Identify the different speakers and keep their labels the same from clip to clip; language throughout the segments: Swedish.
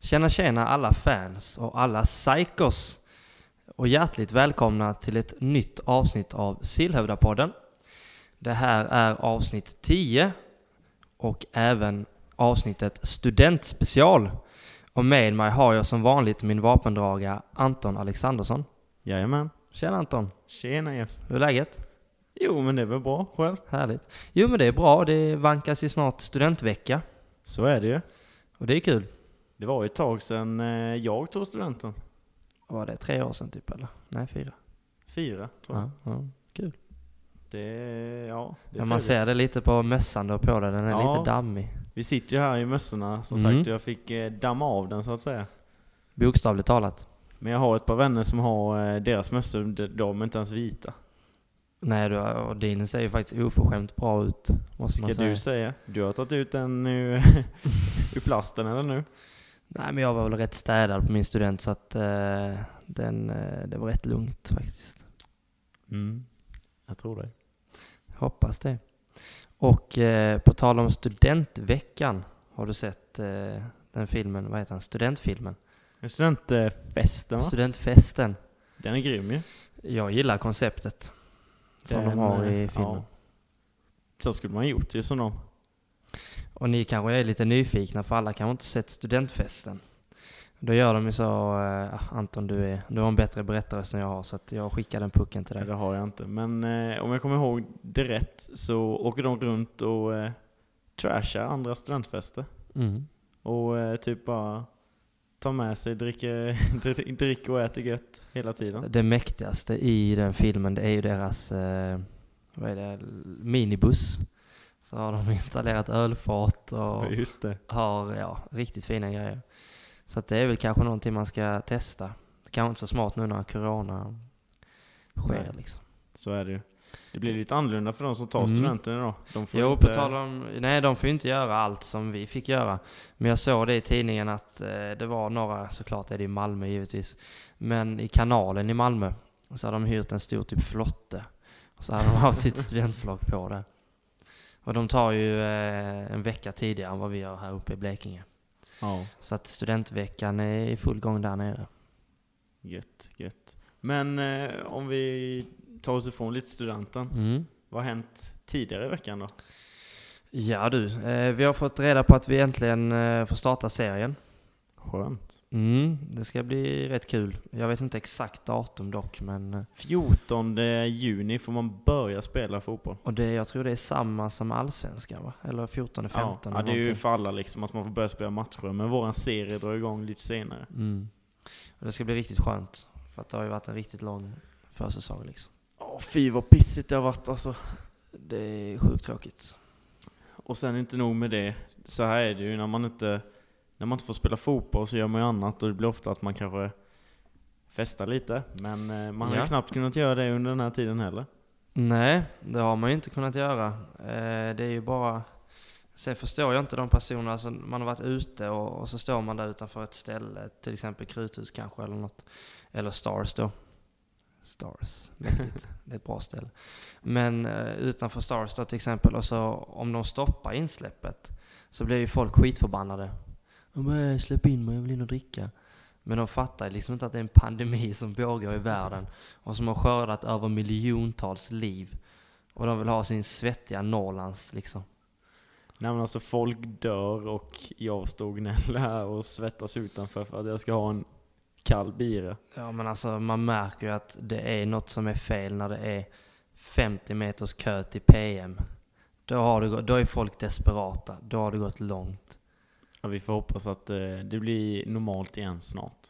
Speaker 1: Tjena tjena alla fans och alla psykos och hjärtligt välkomna till ett nytt avsnitt av Sillhövdapodden. Det här är avsnitt 10 och även avsnittet studentspecial. Och med mig har jag som vanligt min vapendraga Anton Alexandersson.
Speaker 2: Jajamän.
Speaker 1: Tjena Anton,
Speaker 2: Tjena Jeff.
Speaker 1: hur är läget?
Speaker 2: Jo men det är väl bra själv?
Speaker 1: Härligt. Jo men det är bra, det vankas ju snart studentvecka
Speaker 2: Så är det ju.
Speaker 1: och det är kul.
Speaker 2: Det var ju ett tag sedan eh, jag tog studenten.
Speaker 1: Vad var det, tre år sedan typ eller? Nej, fyra.
Speaker 2: Fyra tror jag.
Speaker 1: Ja, ja.
Speaker 2: Det, är- ja, det är
Speaker 1: Ja, man
Speaker 2: trevligt.
Speaker 1: ser det lite på mössan du har på dig, den är
Speaker 2: Ja.
Speaker 1: lite dammig.
Speaker 2: Vi sitter ju här i mössorna som
Speaker 1: Mm.
Speaker 2: sagt och jag fick eh, damma av den så att säga.
Speaker 1: Bokstavligt talat.
Speaker 2: Men jag har ett par vänner som har eh, deras mössor, de, de är inte ens vita.
Speaker 1: Nej du, och din ser ju faktiskt oförskämt bra ut. Måste
Speaker 2: Ska
Speaker 1: man säga.
Speaker 2: du säga? Du har tagit ut den nu ur plasten eller nu?
Speaker 1: Nej men jag var väl rätt städad på min student så att eh, den, eh, det var rätt lugnt faktiskt.
Speaker 2: Mm. Jag tror det.
Speaker 1: Hoppas det. Och eh, på tal om studentveckan, har du sett eh, den filmen, vad heter den, studentfilmen?
Speaker 2: Men Studentfesten va?
Speaker 1: Studentfesten.
Speaker 2: Den är grym ju.
Speaker 1: Jag gillar konceptet som
Speaker 2: Den,
Speaker 1: de har
Speaker 2: eh,
Speaker 1: i filmen.
Speaker 2: ja. Så skulle man gjort ju som dem.
Speaker 1: Och ni kanske är lite nyfikna för alla kanske inte sett studentfesten. Då gör de ju så, eh, Anton du, är, du har en bättre berättarröst än jag har så att jag skickar den pucken till
Speaker 2: Nej,
Speaker 1: dig.
Speaker 2: det har jag inte. Men eh, om jag kommer ihåg det rätt så åker de runt och eh, trashar andra studentfester.
Speaker 1: Mm.
Speaker 2: Och eh, typ bara tar med sig, dricker, dri- dricker och äter gött hela tiden.
Speaker 1: Det mäktigaste i den filmen det är ju deras, eh, vad är det, minibuss. Så har de installerat ölfat och
Speaker 2: just det.
Speaker 1: har ja, riktigt fina grejer. Så att det är väl kanske någonting man ska testa. Kanske inte så smart nu när corona sker
Speaker 2: Nej.
Speaker 1: liksom.
Speaker 2: Så är det ju. Det blir lite annorlunda för de som tar
Speaker 1: Mm.
Speaker 2: studenten idag. De får
Speaker 1: Jo,
Speaker 2: inte,
Speaker 1: på tal om... Nej, de får ju inte göra allt som vi fick göra. Men jag såg det i tidningen att eh, det var några, såklart är det i Malmö givetvis, men i kanalen i Malmö så hade de hyrt en stor typ flotte. Och så hade de haft sitt studentflak på det. Och de tar ju eh, en vecka tidigare än vad vi gör här uppe i Blekinge.
Speaker 2: Ja,
Speaker 1: Så att studentveckan är i full gång där nere.
Speaker 2: gött, gött. Men eh, om vi tar oss ifrån lite studenten.
Speaker 1: Mm.
Speaker 2: Vad har hänt tidigare i veckan då?
Speaker 1: Ja du, eh, vi har fått reda på att vi äntligen eh, får starta serien.
Speaker 2: Skönt.
Speaker 1: Mm, det ska bli rätt kul. Jag vet inte exakt datum dock, men... eh,
Speaker 2: 14 juni får man börja spela fotboll.
Speaker 1: Och det, jag tror det är samma som allsvenskan va? Eller 14, 15
Speaker 2: ja, ja,
Speaker 1: eller
Speaker 2: det är ju
Speaker 1: någonting.
Speaker 2: för alla liksom att man får börja spela matcher. Men våran serie drar igång lite senare.
Speaker 1: Mm. Och det ska bli riktigt skönt. För att det har ju varit en riktigt lång försäsong liksom.
Speaker 2: Åh, fy vad pissigt det har varit alltså.
Speaker 1: Det är sjukt tråkigt.
Speaker 2: Och sen inte nog med det. Så här är det ju när man inte, när man inte får spela fotboll så gör man ju annat. Och det blir ofta att man kanske festar lite. Men eh, man har
Speaker 1: Ja.
Speaker 2: ju knappt kunnat göra det under den här tiden heller.
Speaker 1: Nej, det har man ju inte kunnat göra. Eh, det är ju bara... Sen förstår jag inte de personerna som man har varit ute och, och så står man där utanför ett ställe, till exempel Kruthus kanske eller något. Eller Stars då. Stars, mäktigt. det är ett bra ställe. Men eh, utanför Stars då till exempel, och så om de stoppar insläppet så blir ju folk skitförbannade. De bara, "Äh, släpp in mig, jag vill in och dricka. Men de fattar ju liksom inte att det är en pandemi som pågår i världen och som har skördat över miljontals liv. Och de vill ha sin svettiga Norrlands liksom.
Speaker 2: Nej men alltså folk dör och jag stod gnäll här och svettas utanför för att jag ska ha en kall bira.
Speaker 1: Ja men alltså man märker ju att det är något som är fel när det är 50 meters kö till PM. Då, har det, gå- då är folk desperata. Då har det gått långt.
Speaker 2: Ja, vi får hoppas att eh, det blir normalt igen snart.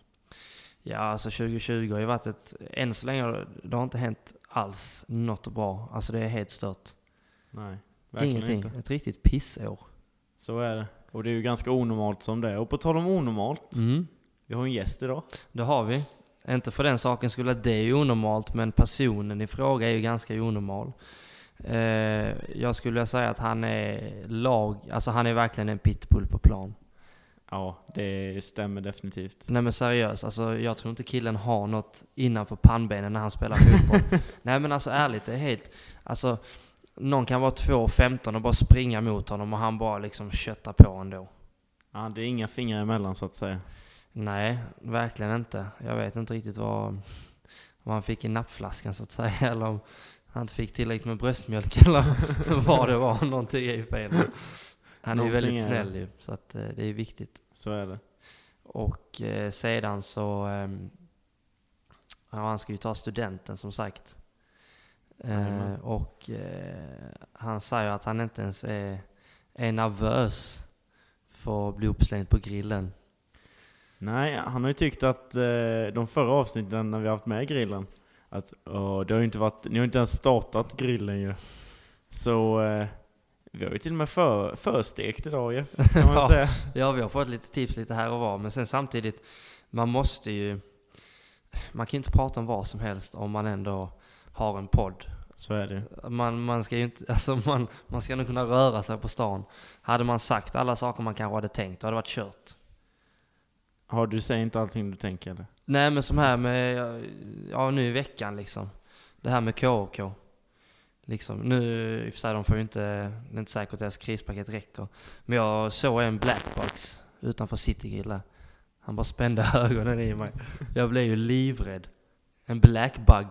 Speaker 1: Ja alltså 2020 har ju varit ett... Än så länge har det- det har inte hänt alls något bra. Alltså det är helt stört.
Speaker 2: Nej, verkligen
Speaker 1: Ingenting.
Speaker 2: inte.
Speaker 1: Ett riktigt pissår.
Speaker 2: Så är det. Och det är ju ganska onormalt som det är. Och på tal om onormalt,
Speaker 1: Mm.
Speaker 2: vi har en gäst idag.
Speaker 1: Det har vi. Inte för den saken skulle att det är onormalt, men personen i fråga är ju ganska onormal. Eh, jag skulle vilja säga att han är lag, alltså han är verkligen en pitbull på plan.
Speaker 2: Ja, det stämmer definitivt.
Speaker 1: Nej men seriöst, alltså jag tror inte killen har något innanför pannbenen när han spelar fotboll. Nej men alltså ärligt, det är helt, alltså någon kan vara 2,15 och bara springa mot honom och han bara liksom köttar på ändå.
Speaker 2: Ja, det är inga fingrar emellan så att säga.
Speaker 1: Nej, verkligen inte. Jag vet inte riktigt vad, vad han fick i nappflaskan så att säga. Eller om han inte fick tillräckligt med bröstmjölk eller vad det var. Någonting är ju fel. Han är ju
Speaker 2: Någonting
Speaker 1: väldigt
Speaker 2: är
Speaker 1: snäll ju, så att eh, det är ju viktigt.
Speaker 2: Så är det.
Speaker 1: Och eh, sedan så... ehm, ja, han ska ju ta studenten som sagt. Eh,
Speaker 2: Jajamän.
Speaker 1: och eh, han säger att han inte ens är, är nervös för att bli uppslängd på grillen.
Speaker 2: Nej, han har ju tyckt att eh, de förra avsnitten när vi har haft med grillen, att åh, det har ju inte varit, ni har ju inte ens startat grillen ju. Så eh, vi har ju till och med för, förstekt idag Jeff, kan man
Speaker 1: Ja.
Speaker 2: säga.
Speaker 1: Ja, vi har fått lite tips lite här och var, men sen samtidigt, man måste ju... Man kan ju inte prata om vad som helst om man ändå har en podd.
Speaker 2: Så är det ju.
Speaker 1: Man, man ska ju inte, alltså man, man ska nog kunna röra sig på stan. Hade man sagt alla saker man kanske hade tänkt, då hade det varit kört.
Speaker 2: Har du säger inte allting du tänker eller?
Speaker 1: Nej men som här med, ja nu i veckan liksom. Det här med KOK. Liksom, nu i och för sig, de får ju inte, det är inte säkert att deras krispaket räcker. Men jag såg en blackbox utanför Citygrill där. Han bara spände ögonen i mig. Jag blev ju livrädd. En blackbug.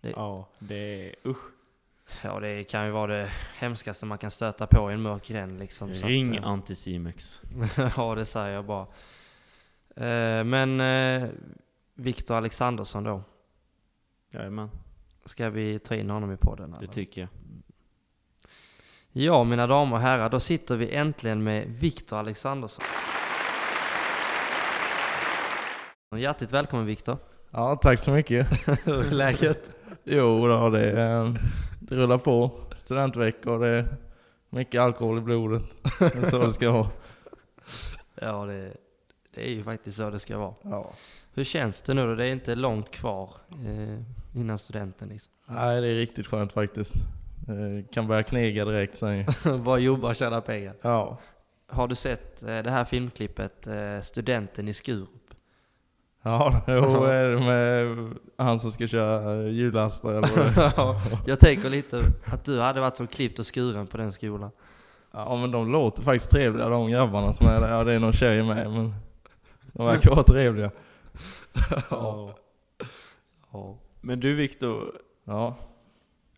Speaker 2: Ja, det är usch.
Speaker 1: Ja det kan ju vara det hemskaste man kan stöta på i en mörk gränd liksom. Så att,
Speaker 2: Ring
Speaker 1: eh,
Speaker 2: Anticimex.
Speaker 1: ja, det säger jag bara. Eh, men eh, Viktor Alexandersson då.
Speaker 2: Jajamän,
Speaker 1: Ska vi ta in honom i podden?
Speaker 2: det
Speaker 1: Eller?
Speaker 2: tycker jag.
Speaker 1: ja, mina damer och herrar, då sitter vi äntligen med Viktor Alexandersson. Hjärtligt välkommen Viktor.
Speaker 3: Ja, tack så mycket.
Speaker 1: Hur är läget?
Speaker 3: Jo, då, det, eh, det rullar på. Studentvecka och det är mycket alkohol i blodet. Det är så det ska vara.
Speaker 1: Ja, det, det är ju faktiskt så det ska vara.
Speaker 3: Ja.
Speaker 1: Hur känns det nu då? Det är inte långt kvar eh, innan studenten liksom.
Speaker 3: Nej, det är riktigt skönt faktiskt. Eh, Kan börja knega direkt sen. ju.
Speaker 1: Bara jobba och tjäna pengar.
Speaker 3: Ja.
Speaker 1: Har du sett eh, det här filmklippet, eh, Studenten i Skurup?
Speaker 3: Ja, jo, är det med han som ska köra eh, hjullastare eller vad det är.
Speaker 1: Ja, jag tänker lite att du hade varit som klippt och skuren på den skolan.
Speaker 3: Ja, men de låter faktiskt trevliga de grabbarna som är där. Ja, det är någon tjej med, men de verkar vara trevliga.
Speaker 2: Ja. Men du Viktor,
Speaker 3: Ja,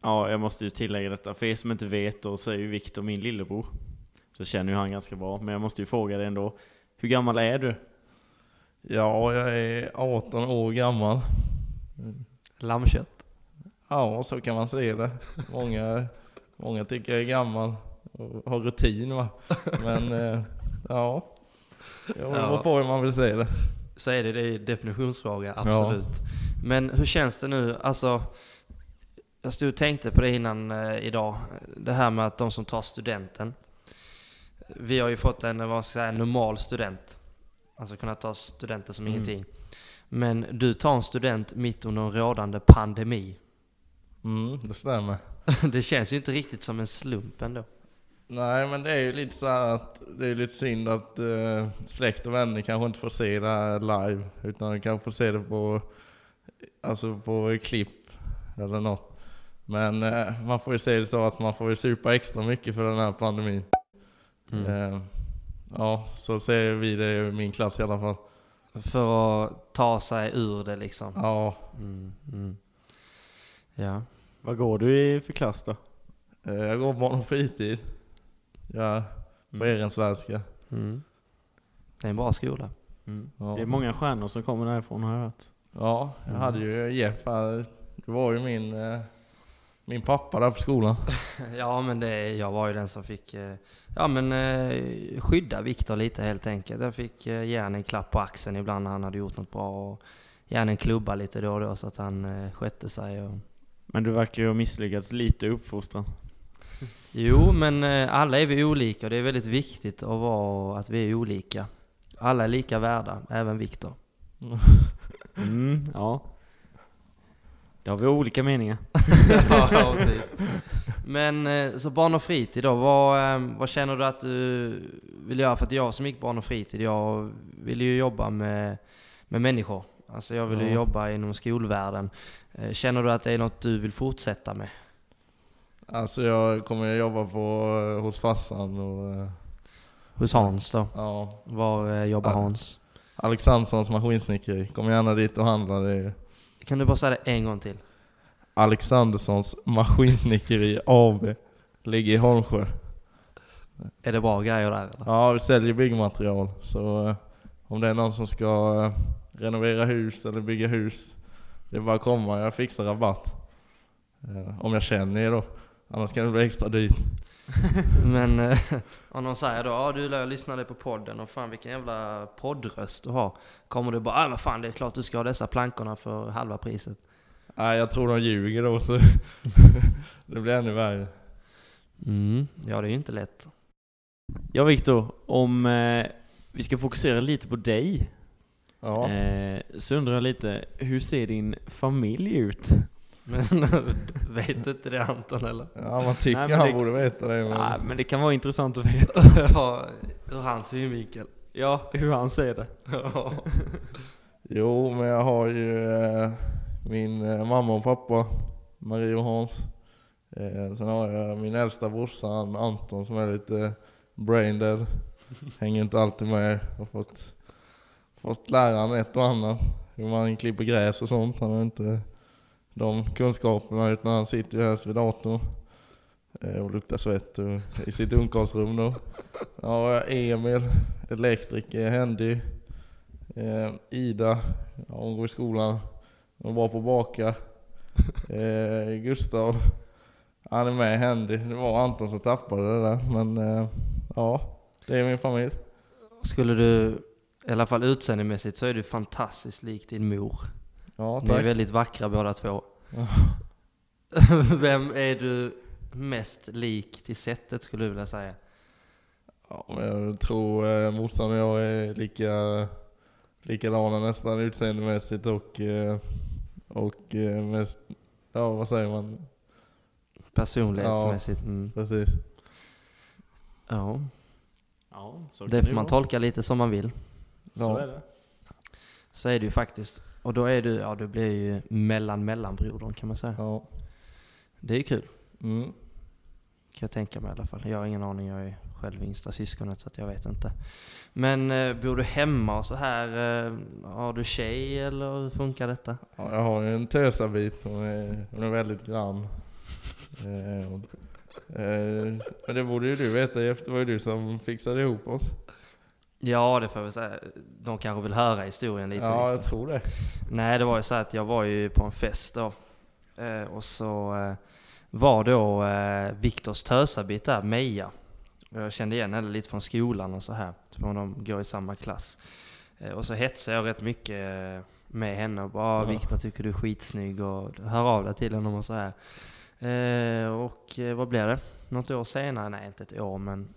Speaker 2: ja jag måste ju tillägga detta. För er som inte vet då så är ju Viktor min lillebror. Så jag känner ju han ganska bra. Men jag måste ju fråga dig ändå. Hur gammal är du?
Speaker 3: ja jag är 18 år gammal.
Speaker 1: Lammkött.
Speaker 3: Ja, så kan man se det. Många, många tycker jag är gammal och har rutin va. Men eh, ja, ja.
Speaker 1: Ja.
Speaker 3: vad får man väl säga det.
Speaker 1: Så är det, det är en definitionsfråga, absolut. Men hur känns det nu? Alltså, jag stod och tänkte på det innan eh, idag. Det här med att de som tar studenten. Vi har ju fått en vad ska jag säga, normal student. Alltså kunna ta studenten som
Speaker 2: Mm.
Speaker 1: ingenting. Men du tar en student mitt under en rådande pandemi.
Speaker 3: Mm, det stämmer.
Speaker 1: Det känns ju inte riktigt som en slump ändå.
Speaker 3: Nej men det är ju lite så här att det är lite synd att eh, släkt och vänner kanske inte får se det här live. Utan de kanske får se det på, alltså på klipp eller något. Men eh, man får ju se det så att man får ju supa extra mycket för den här pandemin. Eh, ja, så ser vi det i min klass i alla fall.
Speaker 1: För att ta sig ur det liksom.
Speaker 3: Ja,
Speaker 1: Mm, mm. Ja.
Speaker 2: Vad går du i för klass då?
Speaker 3: eh, jag går barn och fritid. Ja, på Ehrensvärdska.
Speaker 1: Mm. Det är en bra skola.
Speaker 2: Mm.
Speaker 3: Ja.
Speaker 2: Det är många stjärnor som kommer därifrån har jag hört.
Speaker 3: Ja, jag hade ju Jeff här. Det var ju min, eh, min pappa där på skolan.
Speaker 1: Ja men det, jag var ju den som fick eh, ja, men, eh, skydda Viktor lite helt enkelt. Jag fick eh, ge honom en klapp på axeln ibland när han hade gjort något bra. Och ge honom en klubba lite då och då så att han eh, skötte sig. Och...
Speaker 2: Men du verkar ju ha misslyckats lite i uppfostran.
Speaker 1: Jo men eh, alla är vi olika och det är väldigt viktigt att vara att vi är olika. Alla är lika värda, även Viktor.
Speaker 2: Mm, ja. Det har vi olika meningar.
Speaker 1: ja, precis. Men eh, så barn och fritid då, vad, eh, vad känner du att du vill göra? För att jag som gick barn och fritid, jag ville ju jobba med, med människor. Alltså jag ville ju
Speaker 3: Ja.
Speaker 1: jobba inom skolvärlden. Eh, Känner du att det är något du vill fortsätta med?
Speaker 3: Alltså jag kommer ju jobba på, eh, hos farsan och eh,
Speaker 1: Hos Hans då?
Speaker 3: ja,
Speaker 1: Var eh, jobbar
Speaker 3: Ja.
Speaker 1: Hans?
Speaker 3: Alexanderssons maskinsnickeri. Kom gärna dit och handla. Det är
Speaker 1: Kan du bara säga det en gång till?
Speaker 3: Alexanderssons maskinsnickeri AB. Ligger i Holmsjö.
Speaker 1: Är det bra grejer där eller?
Speaker 3: Ja, vi säljer byggmaterial. Så eh, om det är någon som ska eh, renovera hus eller bygga hus. Det är bara att komma, jag fixar rabatt. Eh, om jag känner er då. Annars kan det bli extra dyrt.
Speaker 1: Men eh, om någon säger då ah, du jag lyssnade på podden och fan vilken jävla poddröst du har. Kommer du bara ah, vad fan det är klart du ska ha dessa plankorna för halva priset.
Speaker 3: Nej, jag tror de ljuger då så det blir ännu värre.
Speaker 1: Mm. Ja det är ju inte lätt.
Speaker 2: Ja, Viktor, om eh, vi ska fokusera lite på dig
Speaker 3: Ja.
Speaker 2: eh, så undrar jag lite, hur ser din familj ut?
Speaker 1: Men vet du inte det Anton eller?
Speaker 3: ja, man tycker
Speaker 2: Nej, men
Speaker 3: han
Speaker 2: det-
Speaker 3: borde veta det. Men...
Speaker 2: Ja, men det kan vara intressant att veta.
Speaker 1: ja, ur hans synvinkel.
Speaker 2: Ja, hur han ser det.
Speaker 1: Ja.
Speaker 3: Jo, men jag har ju eh, min eh, mamma och pappa, Marie och Hans. Eh, sen har jag min äldsta brorsa han Anton som är lite brain dead. Hänger inte alltid med. Har fått, fått lära han ett och annat. Hur man klipper gräs och sånt. Han har inte de kunskaperna utan han sitter ju helst vid datorn. eh, Och luktar svett och, i sitt ungkarlsrum då. Ja, och jag har Emil, elektriker, händig. Eh, Ida, ja, hon går i skolan. Hon var på att baka. Eh, Gustav, han är med händig. Det var Anton som tappade det där. Men eh, ja, det är min familj.
Speaker 1: Skulle du, i alla fall utseendemässigt, så är du fantastiskt lik din mor.
Speaker 3: Ja,
Speaker 1: Ni är
Speaker 3: tack.
Speaker 1: väldigt vackra båda två.
Speaker 3: Ja.
Speaker 1: Vem är du mest lik till sättet skulle du vilja säga?
Speaker 3: Ja, men jag tror eh, morsan och jag är lika, likadana nästan utseendemässigt och, eh, och eh, mest, ja vad säger man?
Speaker 1: Personlighetsmässigt? Ja. Mm.
Speaker 3: Precis.
Speaker 1: ja.
Speaker 2: Ja, så kan
Speaker 1: Det får man
Speaker 2: vara.
Speaker 1: tolka lite som man vill.
Speaker 2: Så
Speaker 3: Ja.
Speaker 2: är det.
Speaker 1: Så är det ju faktiskt. Och då är du, ja du blir ju mellan mellanbrodern kan man säga.
Speaker 3: Ja.
Speaker 1: Det är ju kul,
Speaker 3: Mm.
Speaker 1: kan jag tänka mig i alla fall. Jag har ingen aning, jag är själv yngsta syskonet så att jag vet inte. Men eh, bor du hemma och så här, eh, har du tjej eller hur funkar detta?
Speaker 3: Ja, jag har ju en tösabit. Hon är, hon är väldigt grann. Eh, hon- eh, men det borde ju du veta Jeff. Det var ju du som fixade ihop oss.
Speaker 1: Ja, det får jag väl säga. De kanske vill höra historien lite.
Speaker 3: ja,
Speaker 1: Viktor.
Speaker 3: jag tror det.
Speaker 1: Nej, det var ju så att jag var ju på en fest då. Eh, och så eh, var då eh, Viktors tösabit där, Meja. Och jag kände igen henne lite från skolan och så här. För de går i samma klass. Eh, och så hetsade jag rätt mycket eh, med henne och bara "Ah,
Speaker 3: Ja.
Speaker 1: Viktor tycker du är skitsnygg och hör av dig till honom och så här. Eh, och eh, vad blev det? Något år senare? Nej, inte ett år men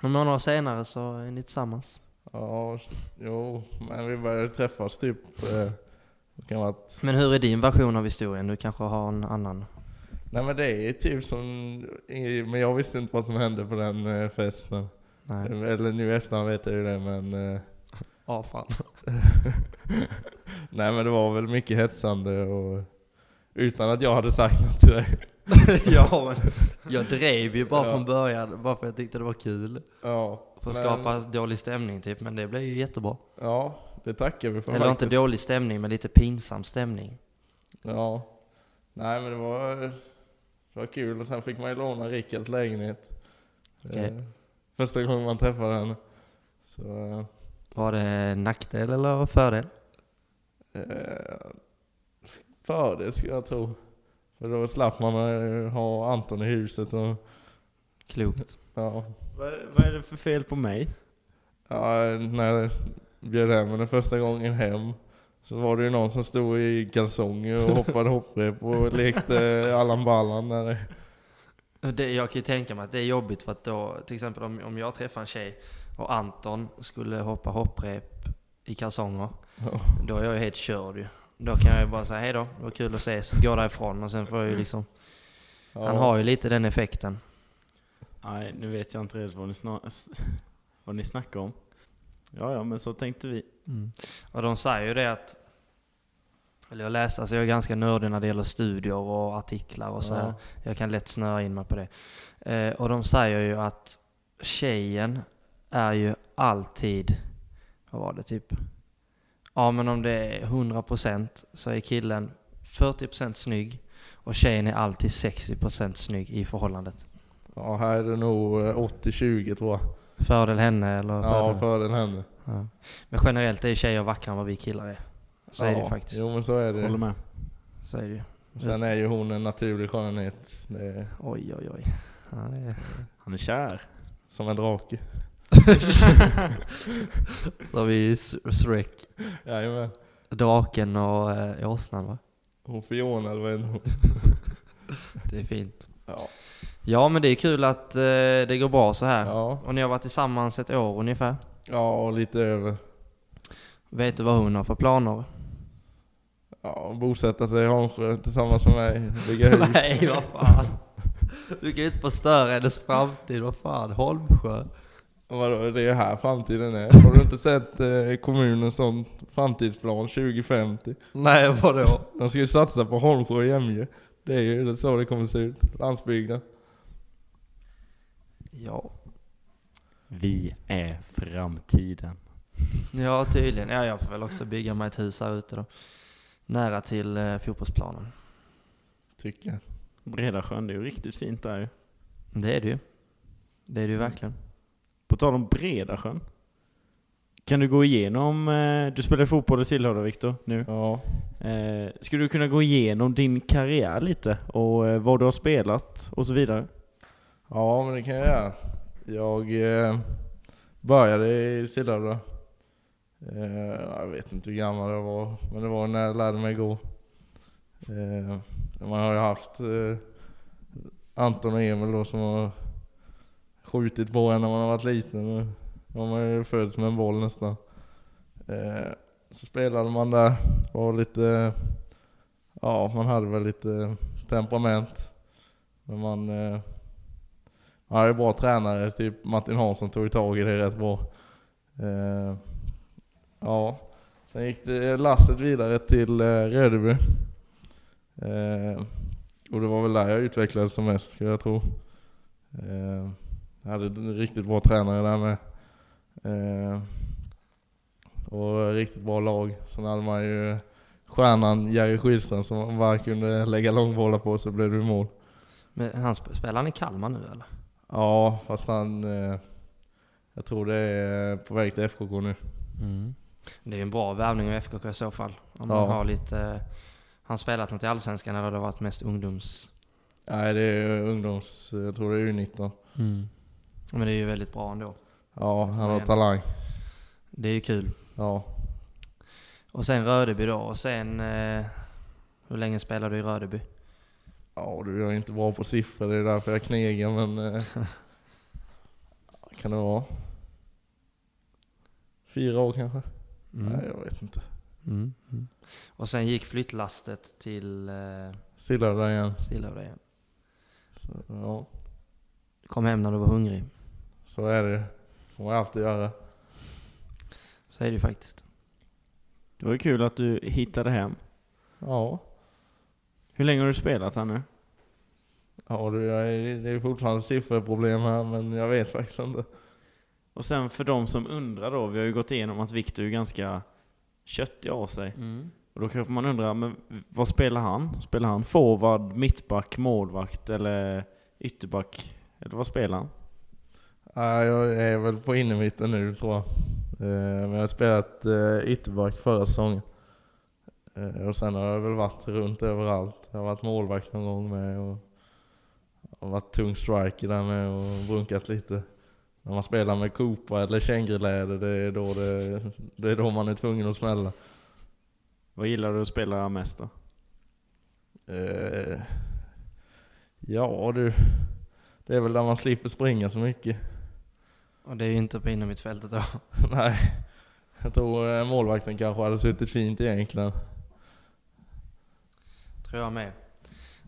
Speaker 1: några månader senare så är ni tillsammans.
Speaker 3: Ja, jo, men vi började träffas typ. Eh, det kan vara att,
Speaker 1: Men hur är din version av historien? Du kanske har en annan?
Speaker 3: nej men det är typ som, i- men jag visste inte vad som hände på den eh, festen.
Speaker 1: Nej.
Speaker 3: Eller nu i efterhand vet jag ju det men. Eh,
Speaker 1: Ja, fan.
Speaker 3: nej men det var väl mycket hetsande och utan att jag hade sagt något till dig.
Speaker 1: ja, men jag drev ju bara
Speaker 3: Ja.
Speaker 1: från början, bara för jag tyckte det var kul.
Speaker 3: Ja,
Speaker 1: För att
Speaker 3: men-
Speaker 1: skapa dålig stämning typ, men det blev ju jättebra.
Speaker 3: Ja, det tackar vi för
Speaker 1: Eller inte
Speaker 3: faktiskt.
Speaker 1: dålig stämning, men lite pinsam stämning.
Speaker 3: Ja. Nej men det var, det var kul och sen fick man ju låna Rickards lägenhet.
Speaker 1: Okej.
Speaker 3: Eh, Första gången man träffade henne. Så, eh,
Speaker 1: Var det nackdel eller fördel?
Speaker 3: eh, fördel skulle jag tro. För då slapp man eh, ha Anton i huset och
Speaker 1: Klokt.
Speaker 3: ja.
Speaker 2: Vad, vad är det för fel på mig?
Speaker 3: ja när jag bjöd hem henne första gången hem så var det ju någon som stod i kalsonger och hoppade hopprep och lekte Allan Ballan. Där.
Speaker 1: Det, jag kan ju tänka mig att det är jobbigt för att då, till exempel om, om jag träffar en tjej och Anton skulle hoppa hopprep i kalsonger,
Speaker 3: Ja.
Speaker 1: då är jag ju helt körd ju. Då kan jag ju bara säga hej då, det var kul att ses, gå därifrån och sen får jag ju liksom,
Speaker 3: Ja.
Speaker 1: han har ju lite den effekten.
Speaker 2: Nej, nu vet jag inte riktigt vad ni, snar- s- vad ni snackar om. Ja, ja, men så tänkte vi.
Speaker 1: Mm. Och de säger ju det att Eller jag läste, alltså jag är ganska nördig när det gäller studier och artiklar och så
Speaker 3: Ja.
Speaker 1: här. Jag kan lätt snöa in mig på det. Eh, och de säger ju att tjejen är ju alltid, vad var det typ? Ja men om det är 100% så är killen 40% snygg och tjejen är alltid 60% snygg i förhållandet.
Speaker 3: Ja, här är det nog eh, 80-20 tror jag.
Speaker 1: Fördel henne eller
Speaker 3: Ja,
Speaker 1: fördel.
Speaker 3: för den henne.
Speaker 1: Ja. Men generellt är ju tjejer vackrare än vad vi killar är. Så är det ju
Speaker 3: Ja,
Speaker 1: faktiskt.
Speaker 3: Jo men så är det
Speaker 2: Håller
Speaker 3: ju.
Speaker 2: med.
Speaker 1: Så är det ju.
Speaker 3: Sen är ju hon en naturlig skönhet. Det är
Speaker 1: Oj oj oj. Ja, det är...
Speaker 2: Han är kär.
Speaker 3: som en drake.
Speaker 1: Så har vi Shrek,
Speaker 3: Jajamän.
Speaker 1: draken och eh, åsnan va?
Speaker 3: Hon Fiona eller vad är hon?
Speaker 1: Det är fint.
Speaker 3: Ja.
Speaker 1: Ja men det är kul att eh, det går bra så här.
Speaker 3: Ja.
Speaker 1: Och ni har varit tillsammans ett år ungefär.
Speaker 3: ja, och lite över.
Speaker 1: Vet du vad hon har för planer?
Speaker 3: Ja, bosätta sig i Hansjö tillsammans med mig. Bygga hus.
Speaker 1: Nej vad fan. Du kan ju inte förstöra hennes framtid, vad fan. Holmsjö.
Speaker 3: Och Vadå, det är ju här framtiden är. Har du inte sett eh, kommunens sån framtidsplan 2050?
Speaker 1: Nej vadå?
Speaker 3: De ska ju satsa på Holmsjö och Jämjö. Det är ju så det kommer se ut. Landsbygden.
Speaker 1: Ja.
Speaker 2: Vi är framtiden.
Speaker 1: ja, tydligen. Ja, jag får väl också bygga mig ett hus här ute då. Nära till eh, fotbollsplanen.
Speaker 3: Tycker jag.
Speaker 2: Breda sjön, det är ju riktigt fint där ju.
Speaker 1: Det är det ju. Det är det ju verkligen.
Speaker 2: På tal om Breda sjön. Kan du gå igenom, eh, du spelar fotboll i Sillhöda Viktor nu.
Speaker 3: Ja.
Speaker 2: Eh, skulle du kunna gå igenom din karriär lite och eh, vad du har spelat och så vidare?
Speaker 3: Ja, men det kan jag göra. Jag eh, började i Sillhövda. Eh, jag vet inte hur gammal jag var, men det var när jag lärde mig gå. Eh, man har ju haft eh, Anton och Emil då som har skjutit på en när man har varit liten. Och De har ju fötts med en boll nästan. Eh, så spelade man där, var lite... Ja, man hade väl lite temperament. Men man... Eh, han är bra tränare, typ Martin Hansson tog tag i det rätt bra. Eh, ja. Sen gick det lasset vidare till eh, Rödeby. Eh, och det var väl där jag utvecklades som mest skulle jag tro. Eh, jag hade en riktigt bra tränare där med. Eh, och riktigt bra lag. Sen hade man ju stjärnan Jerry Skydstrand som man bara kunde lägga långbollar på så blev det mål.
Speaker 1: Men han sp- spelar han i Kalmar nu eller?
Speaker 3: Ja, fast han... Eh, jag tror det är på väg till FKK nu.
Speaker 1: Det är ju en bra värvning av FKK i så fall. Om
Speaker 3: Ja.
Speaker 1: man har lite... eh, Har han spelat något i Allsvenskan eller har det varit mest ungdoms...
Speaker 3: Nej, det är ungdoms... Jag tror det är U19.
Speaker 1: Men det är ju väldigt bra ändå.
Speaker 3: Ja, han har
Speaker 1: Men-
Speaker 3: talang.
Speaker 1: Det är ju kul.
Speaker 3: Ja.
Speaker 1: Och sen Rödeby då. Och sen... Eh, hur länge spelade du i Rödeby?
Speaker 3: Ja, du jag är inte bra på siffror. Det är därför jag knegar, men... Eh, kan det vara? Fyra år kanske? Nej, jag vet inte.
Speaker 1: Mm. Mm. Och sen gick flyttlastet till eh,
Speaker 3: Silla där igen.
Speaker 1: Stillhövda igen.
Speaker 3: Så, ja,
Speaker 1: Kom hem när du var hungrig.
Speaker 3: så är det. Får man alltid göra.
Speaker 1: Så är det ju faktiskt.
Speaker 2: Det var ju kul att du hittade hem.
Speaker 3: Ja.
Speaker 2: Hur länge har du spelat här nu?
Speaker 3: Ja, du, jag är, det är fortfarande siffrorproblem här, men jag vet faktiskt inte.
Speaker 2: Och sen för de som undrar då, vi har ju gått igenom att Viktor är ganska köttig av sig. Och då kanske man undrar, men vad spelar han? Spelar han forward, mittback, målvakt eller ytterback? Eller vad spelar han?
Speaker 3: Ja, jag är väl på innermitten nu tror jag. Eh, Men jag har spelat eh, ytterback förra säsongen. Eh, Och sen har jag väl varit runt överallt. Jag har varit målvakt någon gång med och har varit tung striker där med och brunkat lite. När man spelar med Coopa eller känguruläder, det, är då det, det är då man är tvungen att smälla.
Speaker 2: Vad gillar du att spela mest då?
Speaker 3: Eh, Ja du, det är väl där man slipper springa så mycket.
Speaker 1: Och det är ju inte på innermittfältet då.
Speaker 3: Nej, jag tror eh, målvakten kanske hade suttit fint egentligen.
Speaker 1: Tror jag med.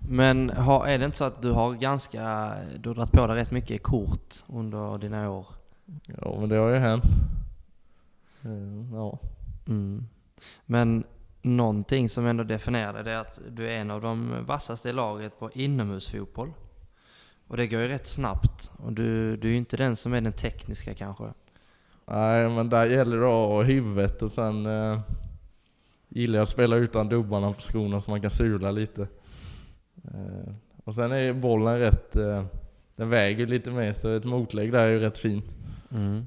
Speaker 1: Men har, är det inte så att du har ganska, du har dragit på dig rätt mycket kort under dina år?
Speaker 3: Ja men det har ju hänt. Eh, Ja.
Speaker 1: Mm. Men någonting som ändå definierar dig, det är att du är en av de vassaste i laget på inomhusfotboll. Och det går ju rätt snabbt. Och du, du är ju inte den som är den tekniska kanske.
Speaker 3: Nej, men där gäller det att ha huvudet och sen eh, gillar jag att spela utan dubbarna på skorna så man kan sula lite. Eh, och sen är ju bollen rätt, eh, den väger ju lite mer så ett motlägg där är ju rätt fint.
Speaker 1: Mm.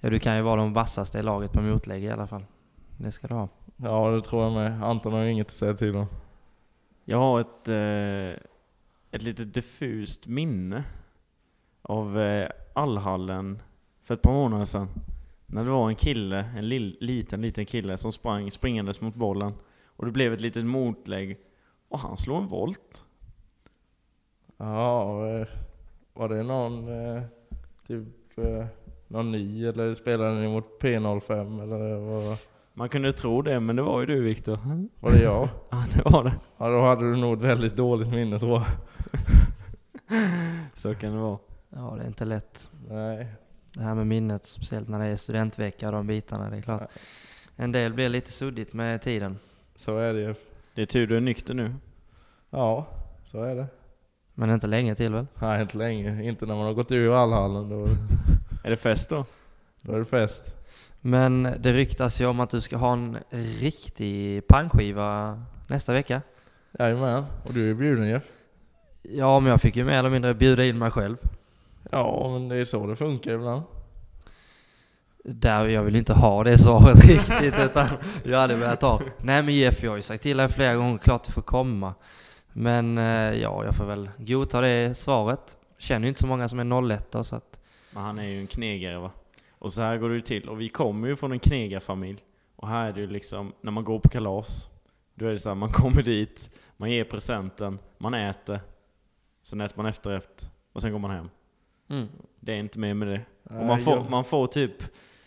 Speaker 1: Ja, du kan ju vara de vassaste i laget på motlägg i alla fall. Det ska du ha.
Speaker 3: Ja, det tror jag med. Anton har ju inget att säga till om.
Speaker 2: Jag har ett, eh, ett lite diffust minne av eh, Allhallen för ett par månader sedan. När det var en kille, en lill, liten, liten kille som sprang springandes mot bollen. Och det blev ett litet motlägg. Och han slår en volt.
Speaker 3: Ja, eh, var det någon eh, typ eh, någon ny eller spelade ni mot P05 eller var,
Speaker 2: Man kunde tro det, men det var ju du Viktor.
Speaker 3: var det jag?
Speaker 2: Ja, det var det.
Speaker 3: Ja, då hade du nog ett väldigt dåligt minne tror jag.
Speaker 2: Så kan det vara.
Speaker 1: Ja, det är inte lätt.
Speaker 3: Nej,
Speaker 1: Det här med minnet, speciellt när det är studentvecka och de bitarna, det är klart. En del blir lite suddigt med tiden.
Speaker 3: så är det ju.
Speaker 2: Det är tur du är nykter nu.
Speaker 3: Ja, så är det.
Speaker 1: Men inte länge till väl?
Speaker 3: Nej, inte länge. Inte när man har gått ur allhallen. Då,
Speaker 2: Är det fest då?
Speaker 3: då är det fest.
Speaker 1: Men det ryktas ju om att du ska ha en riktig pangskiva nästa vecka.
Speaker 3: Jajamän. Och du är bjuden Jeff.
Speaker 1: Ja, men jag fick ju mer eller mindre bjuda in mig själv.
Speaker 3: Ja, men det är så det funkar ibland.
Speaker 1: Där jag vill inte ha det svaret riktigt utan jag hade velat ha. Nej men Jeff, jag har ju sagt till dig flera gånger, klart du får komma. Men eh, ja, jag får väl godta det svaret. Känner ju inte så många som är 01 så att
Speaker 2: Men han är ju en knegare va. Och så här går det ju till. Och vi kommer ju från en knegarfamilj. Och här är det ju liksom, när man går på kalas. Då är det så här, man kommer dit, man ger presenten, man äter. Sen äter man efterrätt. Och sen går man hem.
Speaker 1: mm.
Speaker 2: Det är inte mer med det. Och man får, man får typ,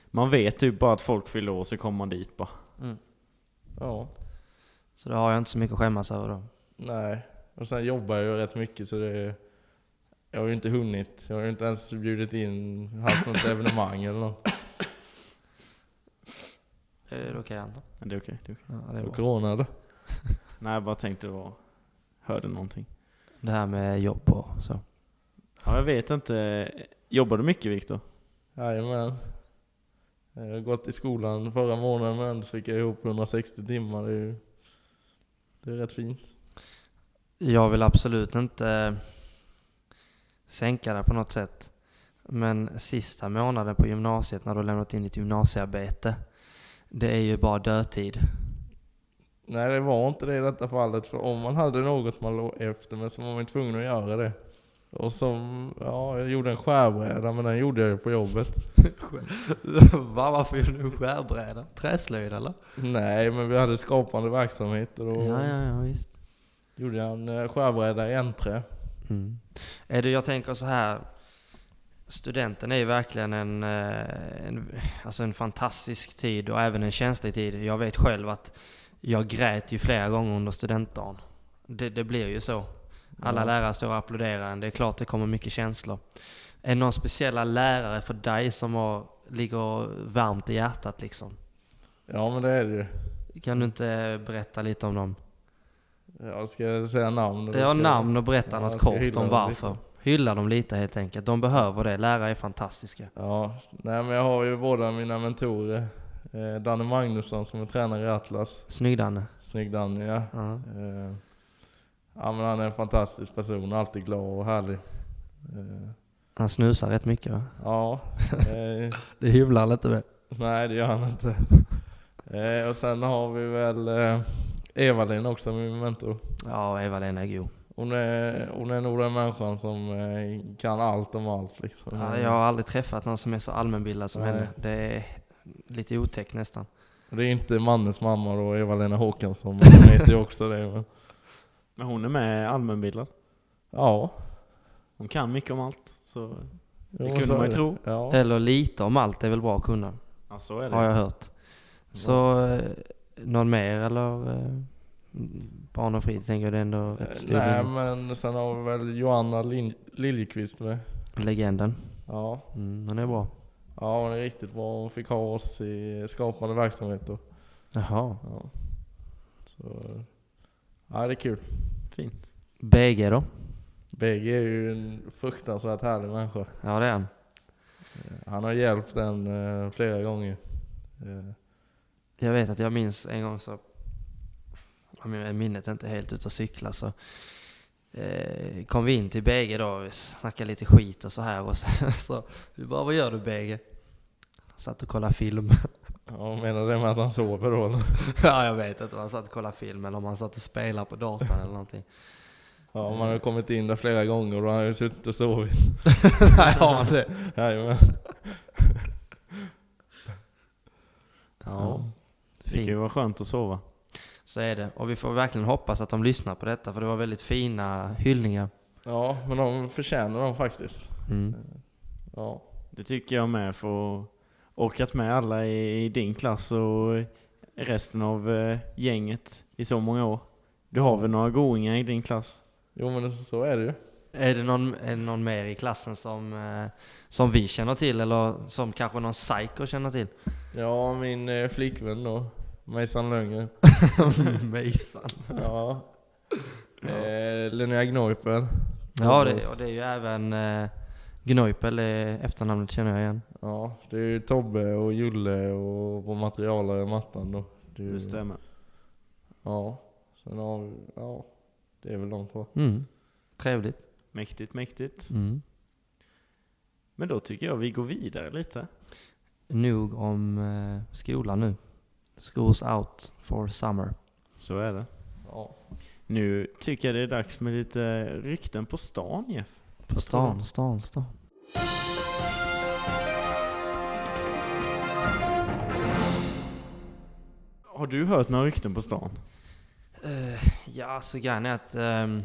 Speaker 2: man vet typ bara att folk fyller år så kommer man dit bara.
Speaker 3: Ja,
Speaker 1: Så det har jag inte så mycket att skämmas över då.
Speaker 3: nej. Och sen jobbar jag ju rätt mycket så det... Jag har ju inte hunnit. Jag har ju inte ens bjudit in, haft något evenemang eller något.
Speaker 1: Är det okej Anton?
Speaker 2: Men det är okej. det är okej.
Speaker 1: Ja, det, är
Speaker 3: Och
Speaker 1: bra.
Speaker 3: corona eller?
Speaker 2: Nej jag bara tänkte bara, hörde någonting.
Speaker 1: det här med jobb och så.
Speaker 2: Ja jag vet inte, jobbar du mycket Viktor?
Speaker 3: Jajamän. Jag har gått i skolan förra månaden men så fick jag ihop 160 timmar. Det är ju... Det är rätt fint.
Speaker 1: Jag vill absolut inte eh, sänka det på något sätt. Men sista månaden på gymnasiet när du har lämnat in ditt gymnasiearbete. Det är ju bara dödtid.
Speaker 3: Nej det var inte det i detta fallet, för om man hade något man låg efter med så var man ju tvungen att göra det. Och som, ja jag gjorde en skärbräda men den gjorde jag ju på jobbet.
Speaker 1: Va, varför gjorde du skärbräda? Träslöjd eller?
Speaker 3: Nej men vi hade skapande verksamhet och då
Speaker 1: Ja, ja, ja visst.
Speaker 3: gjorde jag en eh, skärbräda i enträ.
Speaker 1: Mm. Är det, jag tänker så här. Studenten är ju verkligen en, eh, en, alltså en fantastisk tid och även en känslig tid. Jag vet själv att jag grät ju flera gånger under studentdagen. Det, det blir ju så. Alla
Speaker 3: Ja.
Speaker 1: lärare står och applåderar en. Det är klart det kommer mycket känslor. Är det någon speciella lärare för dig som har, ligger varmt i hjärtat liksom?
Speaker 3: Ja men det är det ju.
Speaker 1: Kan du inte berätta lite om dem?
Speaker 3: Jag ska säga namn. eller
Speaker 1: Ja,
Speaker 3: ska-
Speaker 1: namn och berätta
Speaker 3: Ja,
Speaker 1: något
Speaker 3: jag ska hylla
Speaker 1: kort om
Speaker 3: dem
Speaker 1: varför. Hylla dem lite helt enkelt. De behöver det. Lärare är fantastiska.
Speaker 3: Ja, nej men jag har ju båda mina mentorer. Eh, Danne Magnusson som är tränare i Atlas.
Speaker 1: Snygg Danne.
Speaker 3: Snygg Danne ja.
Speaker 1: Ja.
Speaker 3: Eh, ja men han är en fantastisk person, alltid glad och härlig. Eh,
Speaker 1: Han snusar rätt mycket va?
Speaker 3: Ja, eh,
Speaker 1: Det hyvlar lite med.
Speaker 3: nej det gör han inte. Eh, och sen har vi väl eh, Eva-Lin också, min mentor.
Speaker 1: Ja, Eva-Lena är god.
Speaker 3: Hon är, hon är nog den människan som eh, kan allt om allt liksom.
Speaker 1: Ja, jag har aldrig träffat någon som är så allmänbildad som
Speaker 3: Nej.
Speaker 1: henne. Det är lite otäckt nästan.
Speaker 3: Det är inte Mannes mamma då, Eva-Lena Håkansson, men hon heter ju också det. Men,
Speaker 2: Men hon är med allmänbildad.
Speaker 3: ja,
Speaker 2: Hon kan mycket om allt. Så
Speaker 3: jo,
Speaker 2: det
Speaker 3: så
Speaker 2: kunde
Speaker 3: är
Speaker 2: man ju tro. Eh,
Speaker 3: Ja.
Speaker 1: Eller lite om allt är väl bra att kunna,
Speaker 2: Ja så är det.
Speaker 1: har jag hört. Så, eh, någon mer eller? eh, Barn och fritid tänker jag det är ändå
Speaker 3: Eh,
Speaker 1: rätt stor
Speaker 3: Nej
Speaker 1: linje.
Speaker 3: men sen har vi väl Johanna Lin- Liljekvist med.
Speaker 1: legenden.
Speaker 3: Ja.
Speaker 1: Mm, hon är bra.
Speaker 3: ja, hon är riktigt bra. Hon fick ha oss i skapande verksamhet då.
Speaker 1: Jaha.
Speaker 3: Ja. Så, ja, det är kul.
Speaker 2: Fint.
Speaker 1: BG då?
Speaker 3: BG är ju en fruktansvärt härlig människa.
Speaker 1: Ja, det är han.
Speaker 3: Han har hjälpt en eh, flera gånger. Eh,
Speaker 1: Jag vet att jag minns en gång så, om jag- minnet är inte helt ute och cyklar så eh, kom vi in till BG då och vi snackade lite skit och så här och sen så, vi bara vad gör du BG? Satt och kollade film.
Speaker 3: Ja, menar du med att han sover då eller?
Speaker 1: ja, jag vet inte om han satt och kollade film eller om han satt och spelade på datorn eller någonting.
Speaker 3: Ja, man har kommit in där flera gånger och då har han ju suttit och sovit.
Speaker 1: Nej, har man det?
Speaker 3: Jajamän.
Speaker 2: Ja. Det kan ju
Speaker 1: Fint.
Speaker 2: vara skönt att sova.
Speaker 1: Så är det. Och vi får verkligen hoppas att de lyssnar på detta för det var väldigt fina hyllningar.
Speaker 3: Ja, men de förtjänar dem faktiskt.
Speaker 1: Mm.
Speaker 3: Ja.
Speaker 2: Det tycker jag med för att orkat med alla i, i din klass och resten av eh, gänget i så många år. Du har väl några goingar i din klass?
Speaker 3: Jo men så är det ju.
Speaker 1: Är det, någon, är det någon mer i klassen som, eh, som vi känner till eller som kanske någon psycho känner till?
Speaker 3: Ja, min eh, flickvän då. Mejsan Lönngren.
Speaker 1: Mejsan.
Speaker 3: Ja. Eh, Linnea Gneupel.
Speaker 1: Ja, det, och det är ju även eh, Gneupel, eh, efternamnet känner jag igen.
Speaker 3: Ja, det är ju Tobbe och Julle och vår materialare Mattan då. Det är ju-
Speaker 2: Det stämmer.
Speaker 3: Ja. Sen har vi, ja. Det är väl de två.
Speaker 1: Mm. Trevligt.
Speaker 2: Mäktigt, mäktigt.
Speaker 1: Mm.
Speaker 2: Men då tycker jag vi går vidare lite.
Speaker 1: Nog om eh, skolan nu. School's out for summer.
Speaker 2: Så är det.
Speaker 3: Ja.
Speaker 2: Nu tycker jag det är dags med lite rykten på stan Jeff.
Speaker 1: På stan, stan, stan.
Speaker 2: Har du hört några rykten på stan?
Speaker 1: Eh, ja, så grejen är att ehm,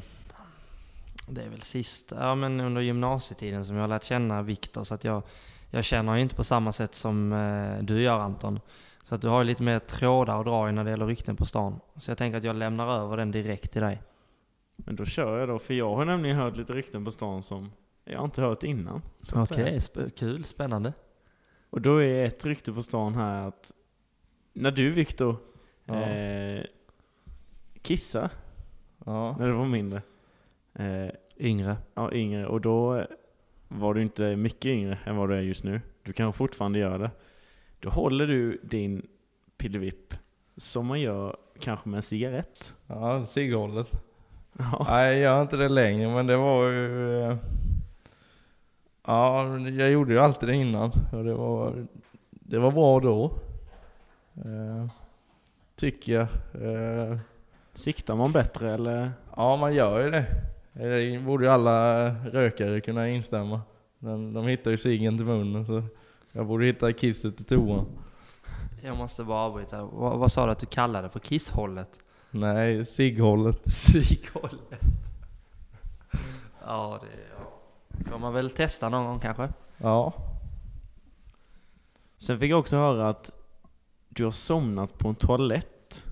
Speaker 1: det är väl sist, ja men under gymnasietiden som jag har lärt känna Viktor så att jag, jag känner ju inte på samma sätt som eh, du gör Anton. Så att du har ju lite mer trådar att dra i när det gäller rykten på stan. Så jag tänker att jag lämnar över den direkt till dig.
Speaker 2: Men då kör jag då, för jag har nämligen hört lite rykten på stan som jag inte hört innan. så att säga.
Speaker 1: Okej, sp- kul, spännande.
Speaker 2: Och då är ett rykte på stan här att när du Viktor
Speaker 3: Ja.
Speaker 2: eh, kissa
Speaker 3: Ja.
Speaker 2: när du var mindre, eh,
Speaker 1: Yngre.
Speaker 2: ja yngre, och då var du inte mycket yngre än vad du är just nu. Du kan fortfarande göra det. Då håller du din pillevipp som man gör kanske med en cigarett.
Speaker 3: Ja, cigghållet.
Speaker 2: Ja.
Speaker 3: Nej, jag gör inte det längre, men det var ju... eh, Ja, jag gjorde ju alltid det innan. Och det var, det var bra då. Eh, tycker jag. Eh,
Speaker 2: Siktar man bättre eller?
Speaker 3: ja, man gör ju det. Eh, Det borde ju alla rökare kunna instämma. Men de hittar ju ciggen till munnen, så jag borde hitta kisset till toan.
Speaker 1: Jag måste bara avbryta. Vad- vad sa du att du kallade det för? Kisshållet?
Speaker 3: Nej, cigghållet.
Speaker 1: Psykhållet? ja, det ja. får man väl testa någon gång kanske.
Speaker 3: Ja.
Speaker 2: Sen fick jag också höra att du har somnat på en toalett